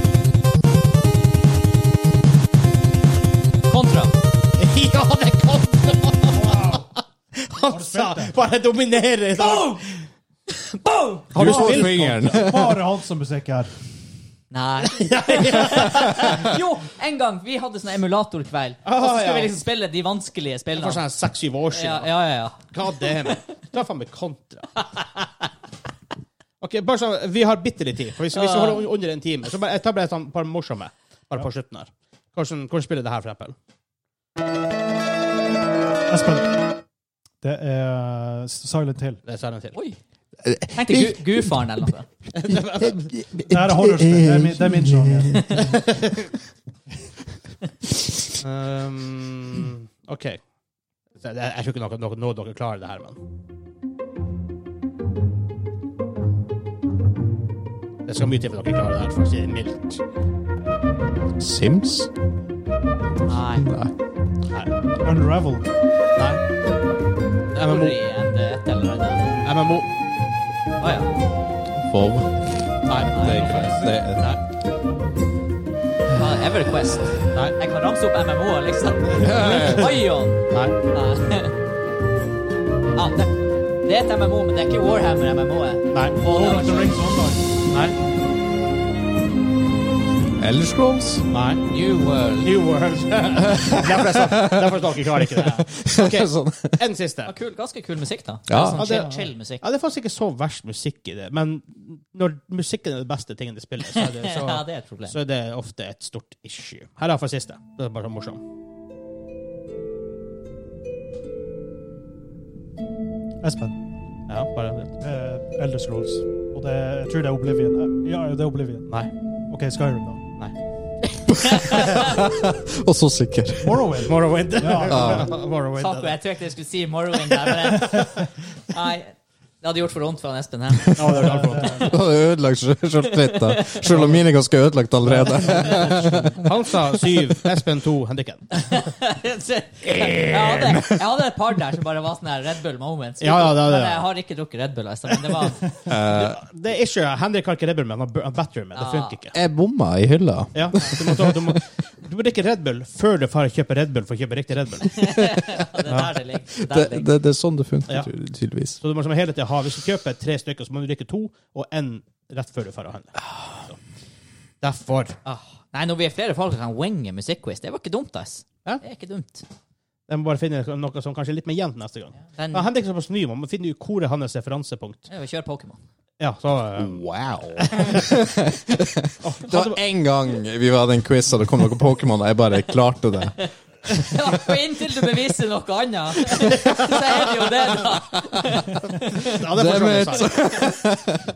[SPEAKER 5] Kontra.
[SPEAKER 1] er. Ja, det kom! Han sa bare dominere. i dag.
[SPEAKER 5] Boom! Boom!
[SPEAKER 4] Har du spilt fingeren?
[SPEAKER 3] Bare Hansa-musikk her.
[SPEAKER 5] Nei. Jo, en gang vi hadde sånn emulatorkveld, og så
[SPEAKER 1] Ah,
[SPEAKER 5] skulle
[SPEAKER 1] ja.
[SPEAKER 5] vi liksom spille de vanskelige
[SPEAKER 1] For
[SPEAKER 5] spillene.
[SPEAKER 1] sånn seks-syv år
[SPEAKER 5] Ja,
[SPEAKER 1] siden.
[SPEAKER 5] ja, ja.
[SPEAKER 1] God damn. Da faen meg kontra. Ok, bare sånn, Vi har bitte litt tid. For hvis, hvis vi holder under en time, så bare, jeg tar bare et sånn par morsomme bare på slutten her. Hvordan, hvordan spiller det her, for eksempel?
[SPEAKER 3] Espen. Det er Silent Hill.
[SPEAKER 1] Det ser jeg til.
[SPEAKER 5] Oi. Tenkte gu gudfaren eller noe.
[SPEAKER 3] Det her er horrorspill. Det er min, det er min sjanger.
[SPEAKER 1] Um, OK. Så Jeg, jeg tror ikke noe, noe, noe dere klarer det her, men Det skal mye til for dere klarer det her, for å si det mildt.
[SPEAKER 4] Sims?
[SPEAKER 5] Nei.
[SPEAKER 4] Nei.
[SPEAKER 3] Unravel.
[SPEAKER 1] Nei. MMO.
[SPEAKER 5] Sorry, en, et eller annet.
[SPEAKER 1] MMO.
[SPEAKER 5] Å ja.
[SPEAKER 4] Vov?
[SPEAKER 1] Nei.
[SPEAKER 4] Det er ikke det. er-
[SPEAKER 5] Everquest.
[SPEAKER 1] Nei.
[SPEAKER 5] Jeg kan ramse opp MMO-er, liksom. Ion!
[SPEAKER 1] Nei.
[SPEAKER 5] Nei. Ja, det, det er et MMO, men det er ikke Warhammer-MMO-et.
[SPEAKER 1] Nei.
[SPEAKER 5] Lord of the Rings
[SPEAKER 1] Nei.
[SPEAKER 4] Elder Scrolls?
[SPEAKER 1] Nei.
[SPEAKER 5] New World.
[SPEAKER 1] New World. Derfor jeg sa derfor sa dere klarer ikke det. Ok,
[SPEAKER 4] Sånn.
[SPEAKER 1] En siste.
[SPEAKER 5] Ja, kul, ganske kul musikk, da.
[SPEAKER 4] Ja.
[SPEAKER 5] Sånn
[SPEAKER 1] Ja,
[SPEAKER 5] chill,
[SPEAKER 1] det-
[SPEAKER 5] chill musikk.
[SPEAKER 1] Ja, Det er faktisk ikke så verst musikk i det, men når musikken er det beste tingen de spiller, så er det,
[SPEAKER 5] Ja,
[SPEAKER 1] så,
[SPEAKER 5] det er et problem.
[SPEAKER 1] så er det ofte et stort issue. Her er for siste. Det er bare sånn morsom.
[SPEAKER 3] Espen.
[SPEAKER 1] Ja, bare
[SPEAKER 3] Eh, Elder Scrolls. Og det, jeg tror det er Oblivion. Eh, Ja, det er Oblivion.
[SPEAKER 1] Nei.
[SPEAKER 3] OK, Skyrim, da.
[SPEAKER 1] Nei.
[SPEAKER 4] Og så sikker.
[SPEAKER 3] Morrowind.
[SPEAKER 1] Morrowind.
[SPEAKER 3] Ja.
[SPEAKER 1] Morrowind.
[SPEAKER 5] Fuck, jeg tror ikke jeg skulle si Morrowind der, men Nei. Det hadde gjort for vondt for han Espen her.
[SPEAKER 1] Ja, det er klart.
[SPEAKER 4] Du har ødelagt sjøltilliten. Selv om mine er ganske ødelagt allerede.
[SPEAKER 1] Han sa syv, Espen to, Henrikken.
[SPEAKER 5] Så- Jeg hadde, jeg hadde et par der som bare var sånn her Red Bull moments.
[SPEAKER 1] Ja, ja, det er det.
[SPEAKER 5] Men jeg har ikke drukket Red Bull, altså. Men det var
[SPEAKER 1] Det er ikke Henrik har ikke Red Bull, men han har Battery med. Det funker ikke.
[SPEAKER 4] Jeg bomma i hylla.
[SPEAKER 1] Ja, du må, ta, du, må, du må drikke Red Bull før du drar og kjøper Red Bull for å kjøpe riktig Red Bull.
[SPEAKER 5] Ja, det er der det ligger.
[SPEAKER 4] Det,
[SPEAKER 5] Der ligger.
[SPEAKER 4] det, det er sånn det
[SPEAKER 1] Ja.
[SPEAKER 4] funker, ty- tydeligvis.
[SPEAKER 1] Så du må som hele tiden ha, Hvis du kjøper tre stykker, så må du drikke to og én rett før du drar og handler. Så. Derfor.
[SPEAKER 5] Ah, nei, når vi er flere folk som kan winge musikkquiz, det var ikke dumt, ass.
[SPEAKER 1] Ja.
[SPEAKER 5] Det er ikke dumt.
[SPEAKER 1] Jeg må bare finne noe som kanskje er litt mer jevnt neste gang.
[SPEAKER 5] Den,
[SPEAKER 1] Ja, Henrik er såpass ny, man må finne ut hvor er hans referansepunkt.
[SPEAKER 5] ja, vi kjører Pokémon.
[SPEAKER 1] Ja, så... eh,
[SPEAKER 5] Mm.
[SPEAKER 4] Wow.
[SPEAKER 1] å,
[SPEAKER 4] Det var
[SPEAKER 1] hadde-
[SPEAKER 4] én gang vi hadde en quiz, og det kom noe Pokémon, og jeg bare klarte det.
[SPEAKER 5] Ja, for inntil du beviser noe annet, så er det jo det, da.
[SPEAKER 1] Ja, det er
[SPEAKER 4] Damn
[SPEAKER 1] for så vidt sant.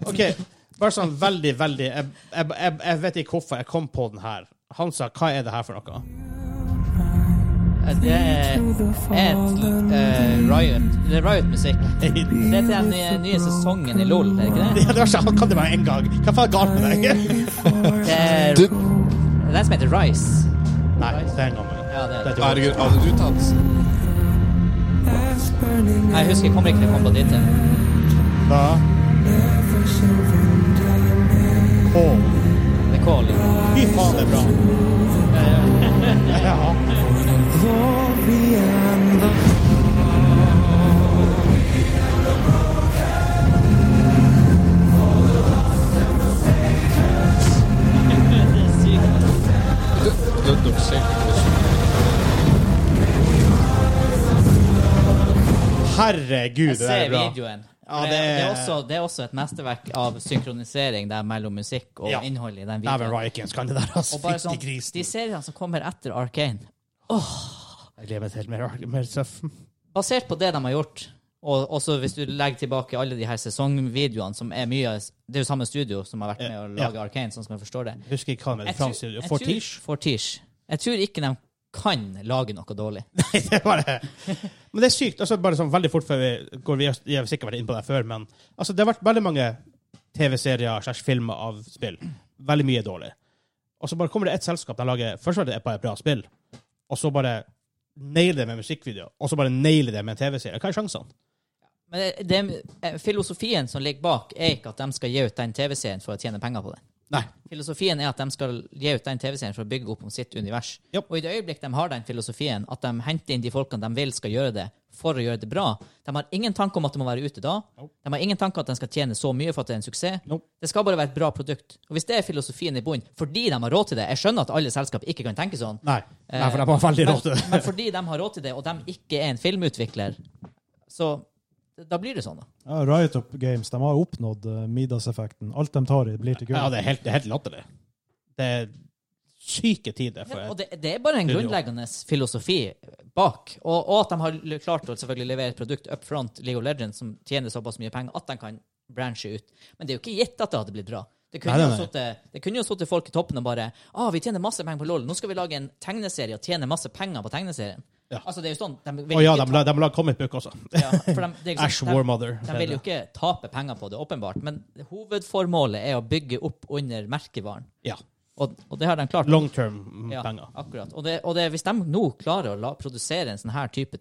[SPEAKER 1] OK. Bare sånn veldig, veldig jeg, jeg, jeg, jeg vet ikke hvorfor jeg kom på den her. Han sa 'hva er det her for noe'?
[SPEAKER 5] Det er et eh, Riot. Det er Riot-musikk.
[SPEAKER 1] Det
[SPEAKER 5] Det er til den nye, nye sesongen i LOL, er det ikke det?
[SPEAKER 1] det var ikke, han kan det bare én gang. Hva faen er galt med deg?
[SPEAKER 5] Det er
[SPEAKER 4] Du,
[SPEAKER 5] det er den som heter Rise.
[SPEAKER 1] Nei, det er en gang.
[SPEAKER 5] Ja, det er
[SPEAKER 1] Det
[SPEAKER 5] det.
[SPEAKER 1] er ikke-
[SPEAKER 4] herregud, hadde du tatt
[SPEAKER 5] Nei, Jeg husker jeg kommer ikke til å komme på eh, ditt.
[SPEAKER 1] Da Å,
[SPEAKER 5] Det er Call.
[SPEAKER 1] fy faen, det er bra. Ja.
[SPEAKER 5] Det er sykt.
[SPEAKER 1] Herregud,
[SPEAKER 5] Jeg
[SPEAKER 1] det er
[SPEAKER 5] ser
[SPEAKER 1] bra.
[SPEAKER 5] videoen.
[SPEAKER 1] Ja,
[SPEAKER 5] det,
[SPEAKER 1] det er-
[SPEAKER 5] det, er også, det er også et mesterverk av synkronisering der mellom musikk og
[SPEAKER 1] Ja.
[SPEAKER 5] innholdet i den
[SPEAKER 1] Dæven,
[SPEAKER 5] videoen.
[SPEAKER 1] Rykens kan det der, altså.
[SPEAKER 5] Og bare sånn,
[SPEAKER 1] Fytti grisen.
[SPEAKER 5] de seriene som kommer etter Arcane,
[SPEAKER 1] Jeg gleder meg til mer, mer stuff.
[SPEAKER 5] basert på det de har gjort, og også hvis du legger tilbake alle de her sesongvideoene, som er mye av- Det er jo samme studio som har vært med å
[SPEAKER 1] Ja.
[SPEAKER 5] lage Arcane, sånn som jeg forstår det.
[SPEAKER 1] Husker ikke hva det het.
[SPEAKER 5] Jeg tror-
[SPEAKER 1] Fransk studio.
[SPEAKER 5] jeg tror-
[SPEAKER 1] Fortiche?
[SPEAKER 5] Fortiche. Jeg tror ikke de kan lage noe dårlig.
[SPEAKER 1] Det er bare- Men det er sykt. Altså, bare sånn veldig fort før vi går vi vi har sikkert vært inne på det før, men altså, det har vært veldig mange TV-serier slash filmer av spill. Veldig mye dårlig. Og så bare kommer det ett selskap de lager Først var det et par bra spill, og så bare nailer det med musikkvideo, og så bare nailer det med en TV-serie. Hva er sjansene?
[SPEAKER 5] Men det, det, eh, filosofien som ligger bak, er ikke at de skal gi ut den TV-serien for å tjene penger på det.
[SPEAKER 1] Nei.
[SPEAKER 5] Filosofien er at de skal gi ut den TV-serien for å bygge opp om sitt univers.
[SPEAKER 1] Japp.
[SPEAKER 5] Og i det øyeblikk de har den filosofien, at de henter inn de folkene de vil skal gjøre det, for å gjøre det bra De har ingen tanke om at de må være ute da. De har ingen tanke om at de skal tjene så mye for at det er en suksess.
[SPEAKER 1] Nope.
[SPEAKER 5] Det skal bare være et bra produkt. Og hvis det er filosofien i bunnen, fordi de har råd til det Jeg skjønner at alle selskap ikke kan tenke sånn,
[SPEAKER 1] Nei. Nei, for de var veldig
[SPEAKER 5] men,
[SPEAKER 1] rått til det.
[SPEAKER 5] men fordi de har råd til det, og de ikke er en filmutvikler, så da blir det sånn, da.
[SPEAKER 3] Ja, Riot Up Games de har oppnådd eh, Midas-effekten. Alt de tar i, blir til gull.
[SPEAKER 1] Ja, det er helt, det er helt latterlig. Det er syke tider. For
[SPEAKER 5] Ja, og det, det er bare en
[SPEAKER 1] Studio.
[SPEAKER 5] grunnleggende filosofi bak. Og, og at de har l- klart å selvfølgelig levere et produkt up front, League of Legends, som tjener såpass mye penger at de kan branche ut. Men det er jo ikke gitt at det hadde blitt bra. Det kunne,
[SPEAKER 1] Nei,
[SPEAKER 5] jo
[SPEAKER 1] nei, nei.
[SPEAKER 5] sittet- det kunne jo sittet folk i toppen og bare ah, 'Vi tjener masse penger på LOL. Nå skal vi lage en tegneserie og tjene masse penger på tegneserien.'
[SPEAKER 1] Ja.
[SPEAKER 5] Altså, det er jo sånn de vil
[SPEAKER 1] Å ja,
[SPEAKER 5] ikke
[SPEAKER 1] de,
[SPEAKER 5] ta-
[SPEAKER 1] la- de lager comic book også.
[SPEAKER 5] ja, for de, det er jo
[SPEAKER 1] Ash
[SPEAKER 5] sånn- de-
[SPEAKER 1] Warmother.
[SPEAKER 5] de vil jo ikke tape penger på det, åpenbart. Men hovedformålet er å bygge opp under merkevaren.
[SPEAKER 1] Ja.
[SPEAKER 5] Og, og det har de klart.
[SPEAKER 1] Long term mm,
[SPEAKER 5] Ja,
[SPEAKER 1] penger.
[SPEAKER 5] akkurat. Og, det, og det, hvis de nå klarer å la, produsere en sånn her type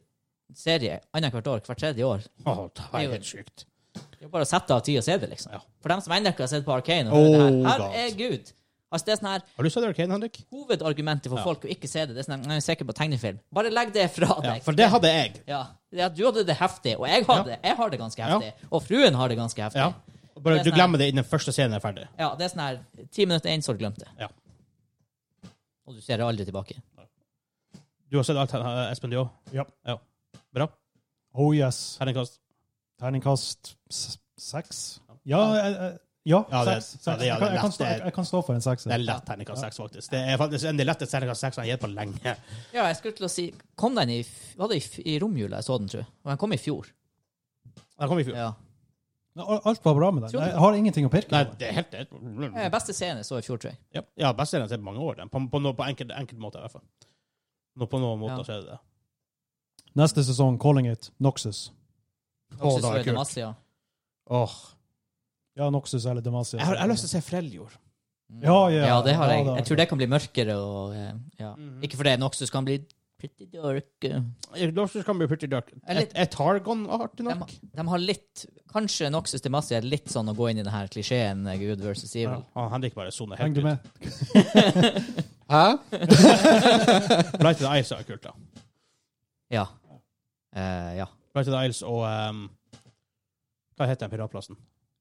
[SPEAKER 5] serie annethvert år, hvert tredje år
[SPEAKER 1] Åh, det
[SPEAKER 5] er
[SPEAKER 1] er
[SPEAKER 5] jo-
[SPEAKER 1] helt sjukt.
[SPEAKER 5] Det er jo bare å sette av tid og se det, liksom.
[SPEAKER 1] Ja.
[SPEAKER 5] For dem som ennå ikke har sett på Arcane, og
[SPEAKER 1] Oh,
[SPEAKER 5] hører det her,
[SPEAKER 1] God.
[SPEAKER 5] herregud! Altså, det er sånn her
[SPEAKER 1] Har du sett Arcane, Henrik?
[SPEAKER 5] hovedargumentet for
[SPEAKER 4] Ja.
[SPEAKER 5] folk å ikke se det. Det er sånn, jeg er sikker på tegnefilm. Bare legg det fra
[SPEAKER 1] Ja,
[SPEAKER 5] deg.
[SPEAKER 1] for det hadde jeg.
[SPEAKER 5] Ja, det at du hadde det heftig, og jeg har
[SPEAKER 1] Ja.
[SPEAKER 5] det. Jeg har det ganske
[SPEAKER 1] Ja.
[SPEAKER 5] heftig. Og fruen har det ganske heftig.
[SPEAKER 1] Ja.
[SPEAKER 5] Ja,
[SPEAKER 1] Bare du glemmer det innen første scenen er ferdig.
[SPEAKER 5] det er sånn her Ti minutter inn, så har du glemt det.
[SPEAKER 1] Ja.
[SPEAKER 5] Og du ser det aldri tilbake.
[SPEAKER 1] Du har sett alt, eh, Espen, du òg?
[SPEAKER 3] Ja.
[SPEAKER 1] Bra.
[SPEAKER 3] Oh yes.
[SPEAKER 1] Terningkast.
[SPEAKER 3] Terningkast s- seks? Ja, jeg, jeg- ja,
[SPEAKER 1] Ja, det-
[SPEAKER 3] seks.
[SPEAKER 1] ja, det- ja,
[SPEAKER 3] jeg, kan,
[SPEAKER 1] det er
[SPEAKER 3] jeg, kan
[SPEAKER 1] lett.
[SPEAKER 3] stå, jeg, jeg kan stå for en sekser.
[SPEAKER 1] Det er lett terningkast seks, faktisk. Det er faktisk en av de letteste terningkast seks jeg har gitt på lenge.
[SPEAKER 5] Ja, jeg skulle til å si Kom den i f- Var det i, f- i romjula jeg så den, tror jeg? Og den kom i fjor.
[SPEAKER 1] Den kom i fjor.
[SPEAKER 5] Ja.
[SPEAKER 3] Men al- Alt var bra med den. Jeg har ingenting å pirke
[SPEAKER 1] Nei,
[SPEAKER 3] på.
[SPEAKER 1] det er helt
[SPEAKER 5] Eh,
[SPEAKER 1] det.
[SPEAKER 5] Beste scene så i fjor, tror jeg.
[SPEAKER 1] Ja, ja best serien til mange år, den. På, på, noe- på enkelt, enkelt måte, i hvert fall. Nå på noen måter
[SPEAKER 5] Ja.
[SPEAKER 1] så er det det.
[SPEAKER 3] Neste sesong, 'Calling It', Noxus.
[SPEAKER 1] Å,
[SPEAKER 5] Også
[SPEAKER 1] det
[SPEAKER 5] så
[SPEAKER 1] var
[SPEAKER 5] er det
[SPEAKER 1] kult.
[SPEAKER 5] masse, ja.
[SPEAKER 1] Åh.
[SPEAKER 3] Ja, Noxus eller Demacia.
[SPEAKER 1] Jeg har, jeg har lyst til å se Freljord.
[SPEAKER 3] Ja, ja,
[SPEAKER 5] Mm.
[SPEAKER 3] ja,
[SPEAKER 5] Ja, det har jeg.
[SPEAKER 3] det har
[SPEAKER 5] Jeg
[SPEAKER 3] jeg.
[SPEAKER 5] tror det kan bli mørkere og eh, ja.
[SPEAKER 1] Mm-hmm. Mm.
[SPEAKER 5] Ikke fordi Noxus kan bli pretty dark. eh.
[SPEAKER 1] Lorsus kan bli pretty dark.
[SPEAKER 5] Jeg er litt-
[SPEAKER 1] Er Targon artig
[SPEAKER 5] De,
[SPEAKER 1] nok?
[SPEAKER 5] de har litt Kanskje Noxus til masse er litt sånn å gå inn i den her klisjeen eh, Good versus Evil.
[SPEAKER 1] Ah, Han Henrik bare soner helt
[SPEAKER 3] Henger du
[SPEAKER 1] ut.
[SPEAKER 3] med?
[SPEAKER 4] Hæ?
[SPEAKER 1] Blighted Isles er kult, da.
[SPEAKER 5] Ja. Eh, ja.
[SPEAKER 1] Blighted Isles og ehm, Hva heter den piratplassen?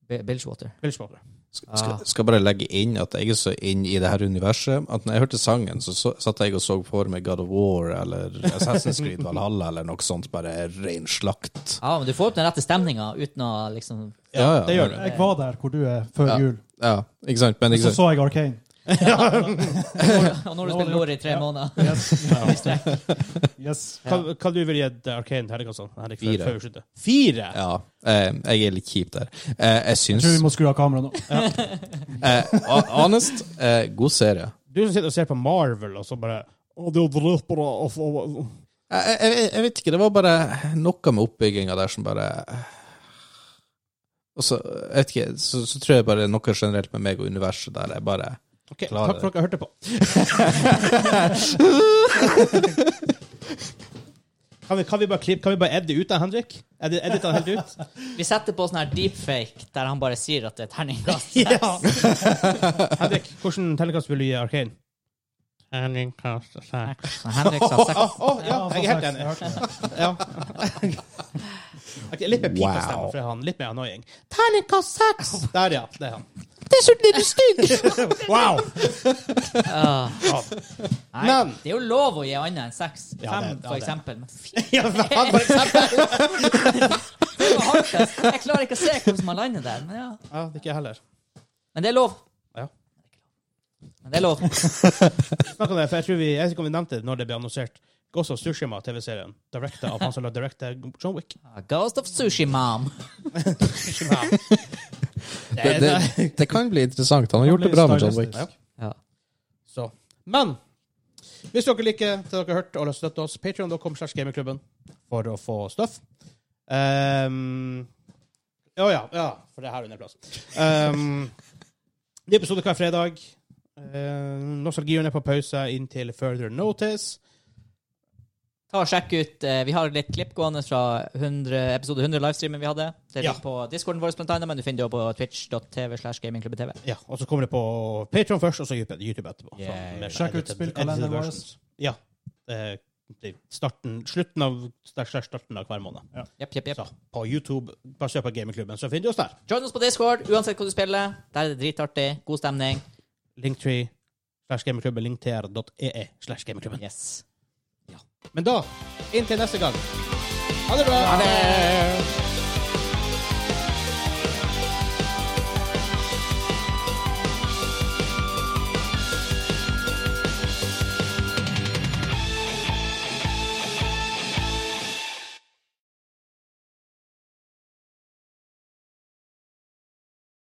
[SPEAKER 5] Bi- Bilgewater.
[SPEAKER 1] Bilgewater.
[SPEAKER 5] Ah.
[SPEAKER 4] Skal, skal bare legge inn at jeg er så inn i det her universet at når jeg hørte sangen, så, så satt jeg og så for meg God of War eller Assassin's Creed Valhalla eller noe sånt, bare ren slakt.
[SPEAKER 5] Ja, men du får opp den rette stemninga uten å liksom
[SPEAKER 4] Ja, ja,
[SPEAKER 1] det gjør
[SPEAKER 4] men-
[SPEAKER 1] det.
[SPEAKER 3] Jeg var der hvor du er før
[SPEAKER 4] Ja.
[SPEAKER 3] jul.
[SPEAKER 4] Ja, ikke sant? Men
[SPEAKER 3] Så
[SPEAKER 4] ikke sant?
[SPEAKER 3] så jeg Arcane.
[SPEAKER 5] Og når du spiller Lore i tre
[SPEAKER 3] Ja.
[SPEAKER 5] måneder
[SPEAKER 3] Yes.
[SPEAKER 5] i strekk.
[SPEAKER 3] yes.
[SPEAKER 1] Hva, hva du vil gi et Arcane Herregasson? Henrik, før,
[SPEAKER 4] Fire.
[SPEAKER 1] før vi slutter. Fire?
[SPEAKER 4] Ja, eh, jeg er litt kjip der. Eh, jeg
[SPEAKER 3] Jeg tror vi
[SPEAKER 4] syns
[SPEAKER 3] må skru av kameraet nå.
[SPEAKER 4] eh, hon- Honest, eh, god serie.
[SPEAKER 1] Du som sitter og ser på Marvel, og så bare Å, det er jo dritbra. og få-
[SPEAKER 4] Eh, Jeg, jeg, jeg- jeg vet ikke, det var bare noe med oppbygginga der som bare eh, Og så, jeg vet ikke, så, så tror jeg bare det er noe generelt med meg og universet der jeg bare
[SPEAKER 1] OK,
[SPEAKER 4] Klarer
[SPEAKER 1] takk for at dere hørte på. kan, vi, kan vi bare klippe, kan vi bare edde ut av Henrik? Edde, edde han helt ut?
[SPEAKER 5] Vi setter på sånn her deepfake der han bare sier at det er terningkast.
[SPEAKER 1] ja! Henrik, hvordan terningkast vil du gi Arcane? Terningkast seks.
[SPEAKER 5] Så Henrik sa seks.
[SPEAKER 1] Å, ja, jeg er helt enig. Ja. Ok, litt mer pikastemme
[SPEAKER 4] Wow.
[SPEAKER 1] fra han. Litt mer annoying. Terningkast seks! Der, ja. Det er han.
[SPEAKER 4] Dessuten er du stygg!
[SPEAKER 1] Wow!
[SPEAKER 5] Ah.
[SPEAKER 1] Ja.
[SPEAKER 5] Nei,
[SPEAKER 1] Men-
[SPEAKER 5] det er jo lov å gi annet enn seks. Fem,
[SPEAKER 1] Ja, det- ja,
[SPEAKER 5] for
[SPEAKER 1] det.
[SPEAKER 5] eksempel. Men fy,
[SPEAKER 1] Ja, han for eksempel.
[SPEAKER 5] det var hardest. Jeg klarer ikke å se hvordan man lander der. Men, ja.
[SPEAKER 1] Ja, det er ikke jeg heller.
[SPEAKER 5] men det er lov.
[SPEAKER 1] Ja.
[SPEAKER 5] Men det er lov.
[SPEAKER 1] Snakk om det, for jeg tror vi, jeg vet ikke om vi nevnte det når det ble annonsert. Ghost of Tsushima, TV-serien. Direkta av han som la direkte John Wick.
[SPEAKER 5] Ghost of Sushi Mom.
[SPEAKER 1] Tsushima.
[SPEAKER 4] Det, det, det kan bli interessant. Han har gjort det bra med John Wick.
[SPEAKER 3] Ja.
[SPEAKER 5] Ja.
[SPEAKER 1] Så. Men hvis dere liker det dere har hørt, og har lyst til å støtte oss, patreon.com slash gamingklubben for å få stuff. Ehm, Å ja, ja, for det er her under plass. Ehm, ny episode hver fredag. Ehm, Nostalgien er på pause inntil further notice.
[SPEAKER 5] Ta og Sjekk ut eh, Vi har litt klipp gående fra 100, episode 100 livestreamen vi hadde. Det ligger
[SPEAKER 1] Ja.
[SPEAKER 5] på discorden vår, blant annet, men du finner det også på twitch.tv. slash gamingklubben.tv.
[SPEAKER 1] Ja, og så kommer det på Patreon først, og så YouTube etterpå. Så
[SPEAKER 5] Yeah.
[SPEAKER 1] med
[SPEAKER 3] Sjekk ut
[SPEAKER 1] edited-
[SPEAKER 3] spillkalenderen
[SPEAKER 1] edited
[SPEAKER 3] vår.
[SPEAKER 1] versions. Ja. Eh, det er starten, slutten av, slash starten av hver måned.
[SPEAKER 5] Jepp, jepp, jepp.
[SPEAKER 1] Så på YouTube, bare søk på Gamingklubben, så finner du oss der.
[SPEAKER 5] Join oss på Discord, uansett hva du spiller. Der er det dritartig. God stemning.
[SPEAKER 1] Linktree slash gamingklubben, linktr.ee slash gamingklubben.
[SPEAKER 5] Yes.
[SPEAKER 1] Men da, inntil neste gang. Ha det bra!
[SPEAKER 5] Ha det!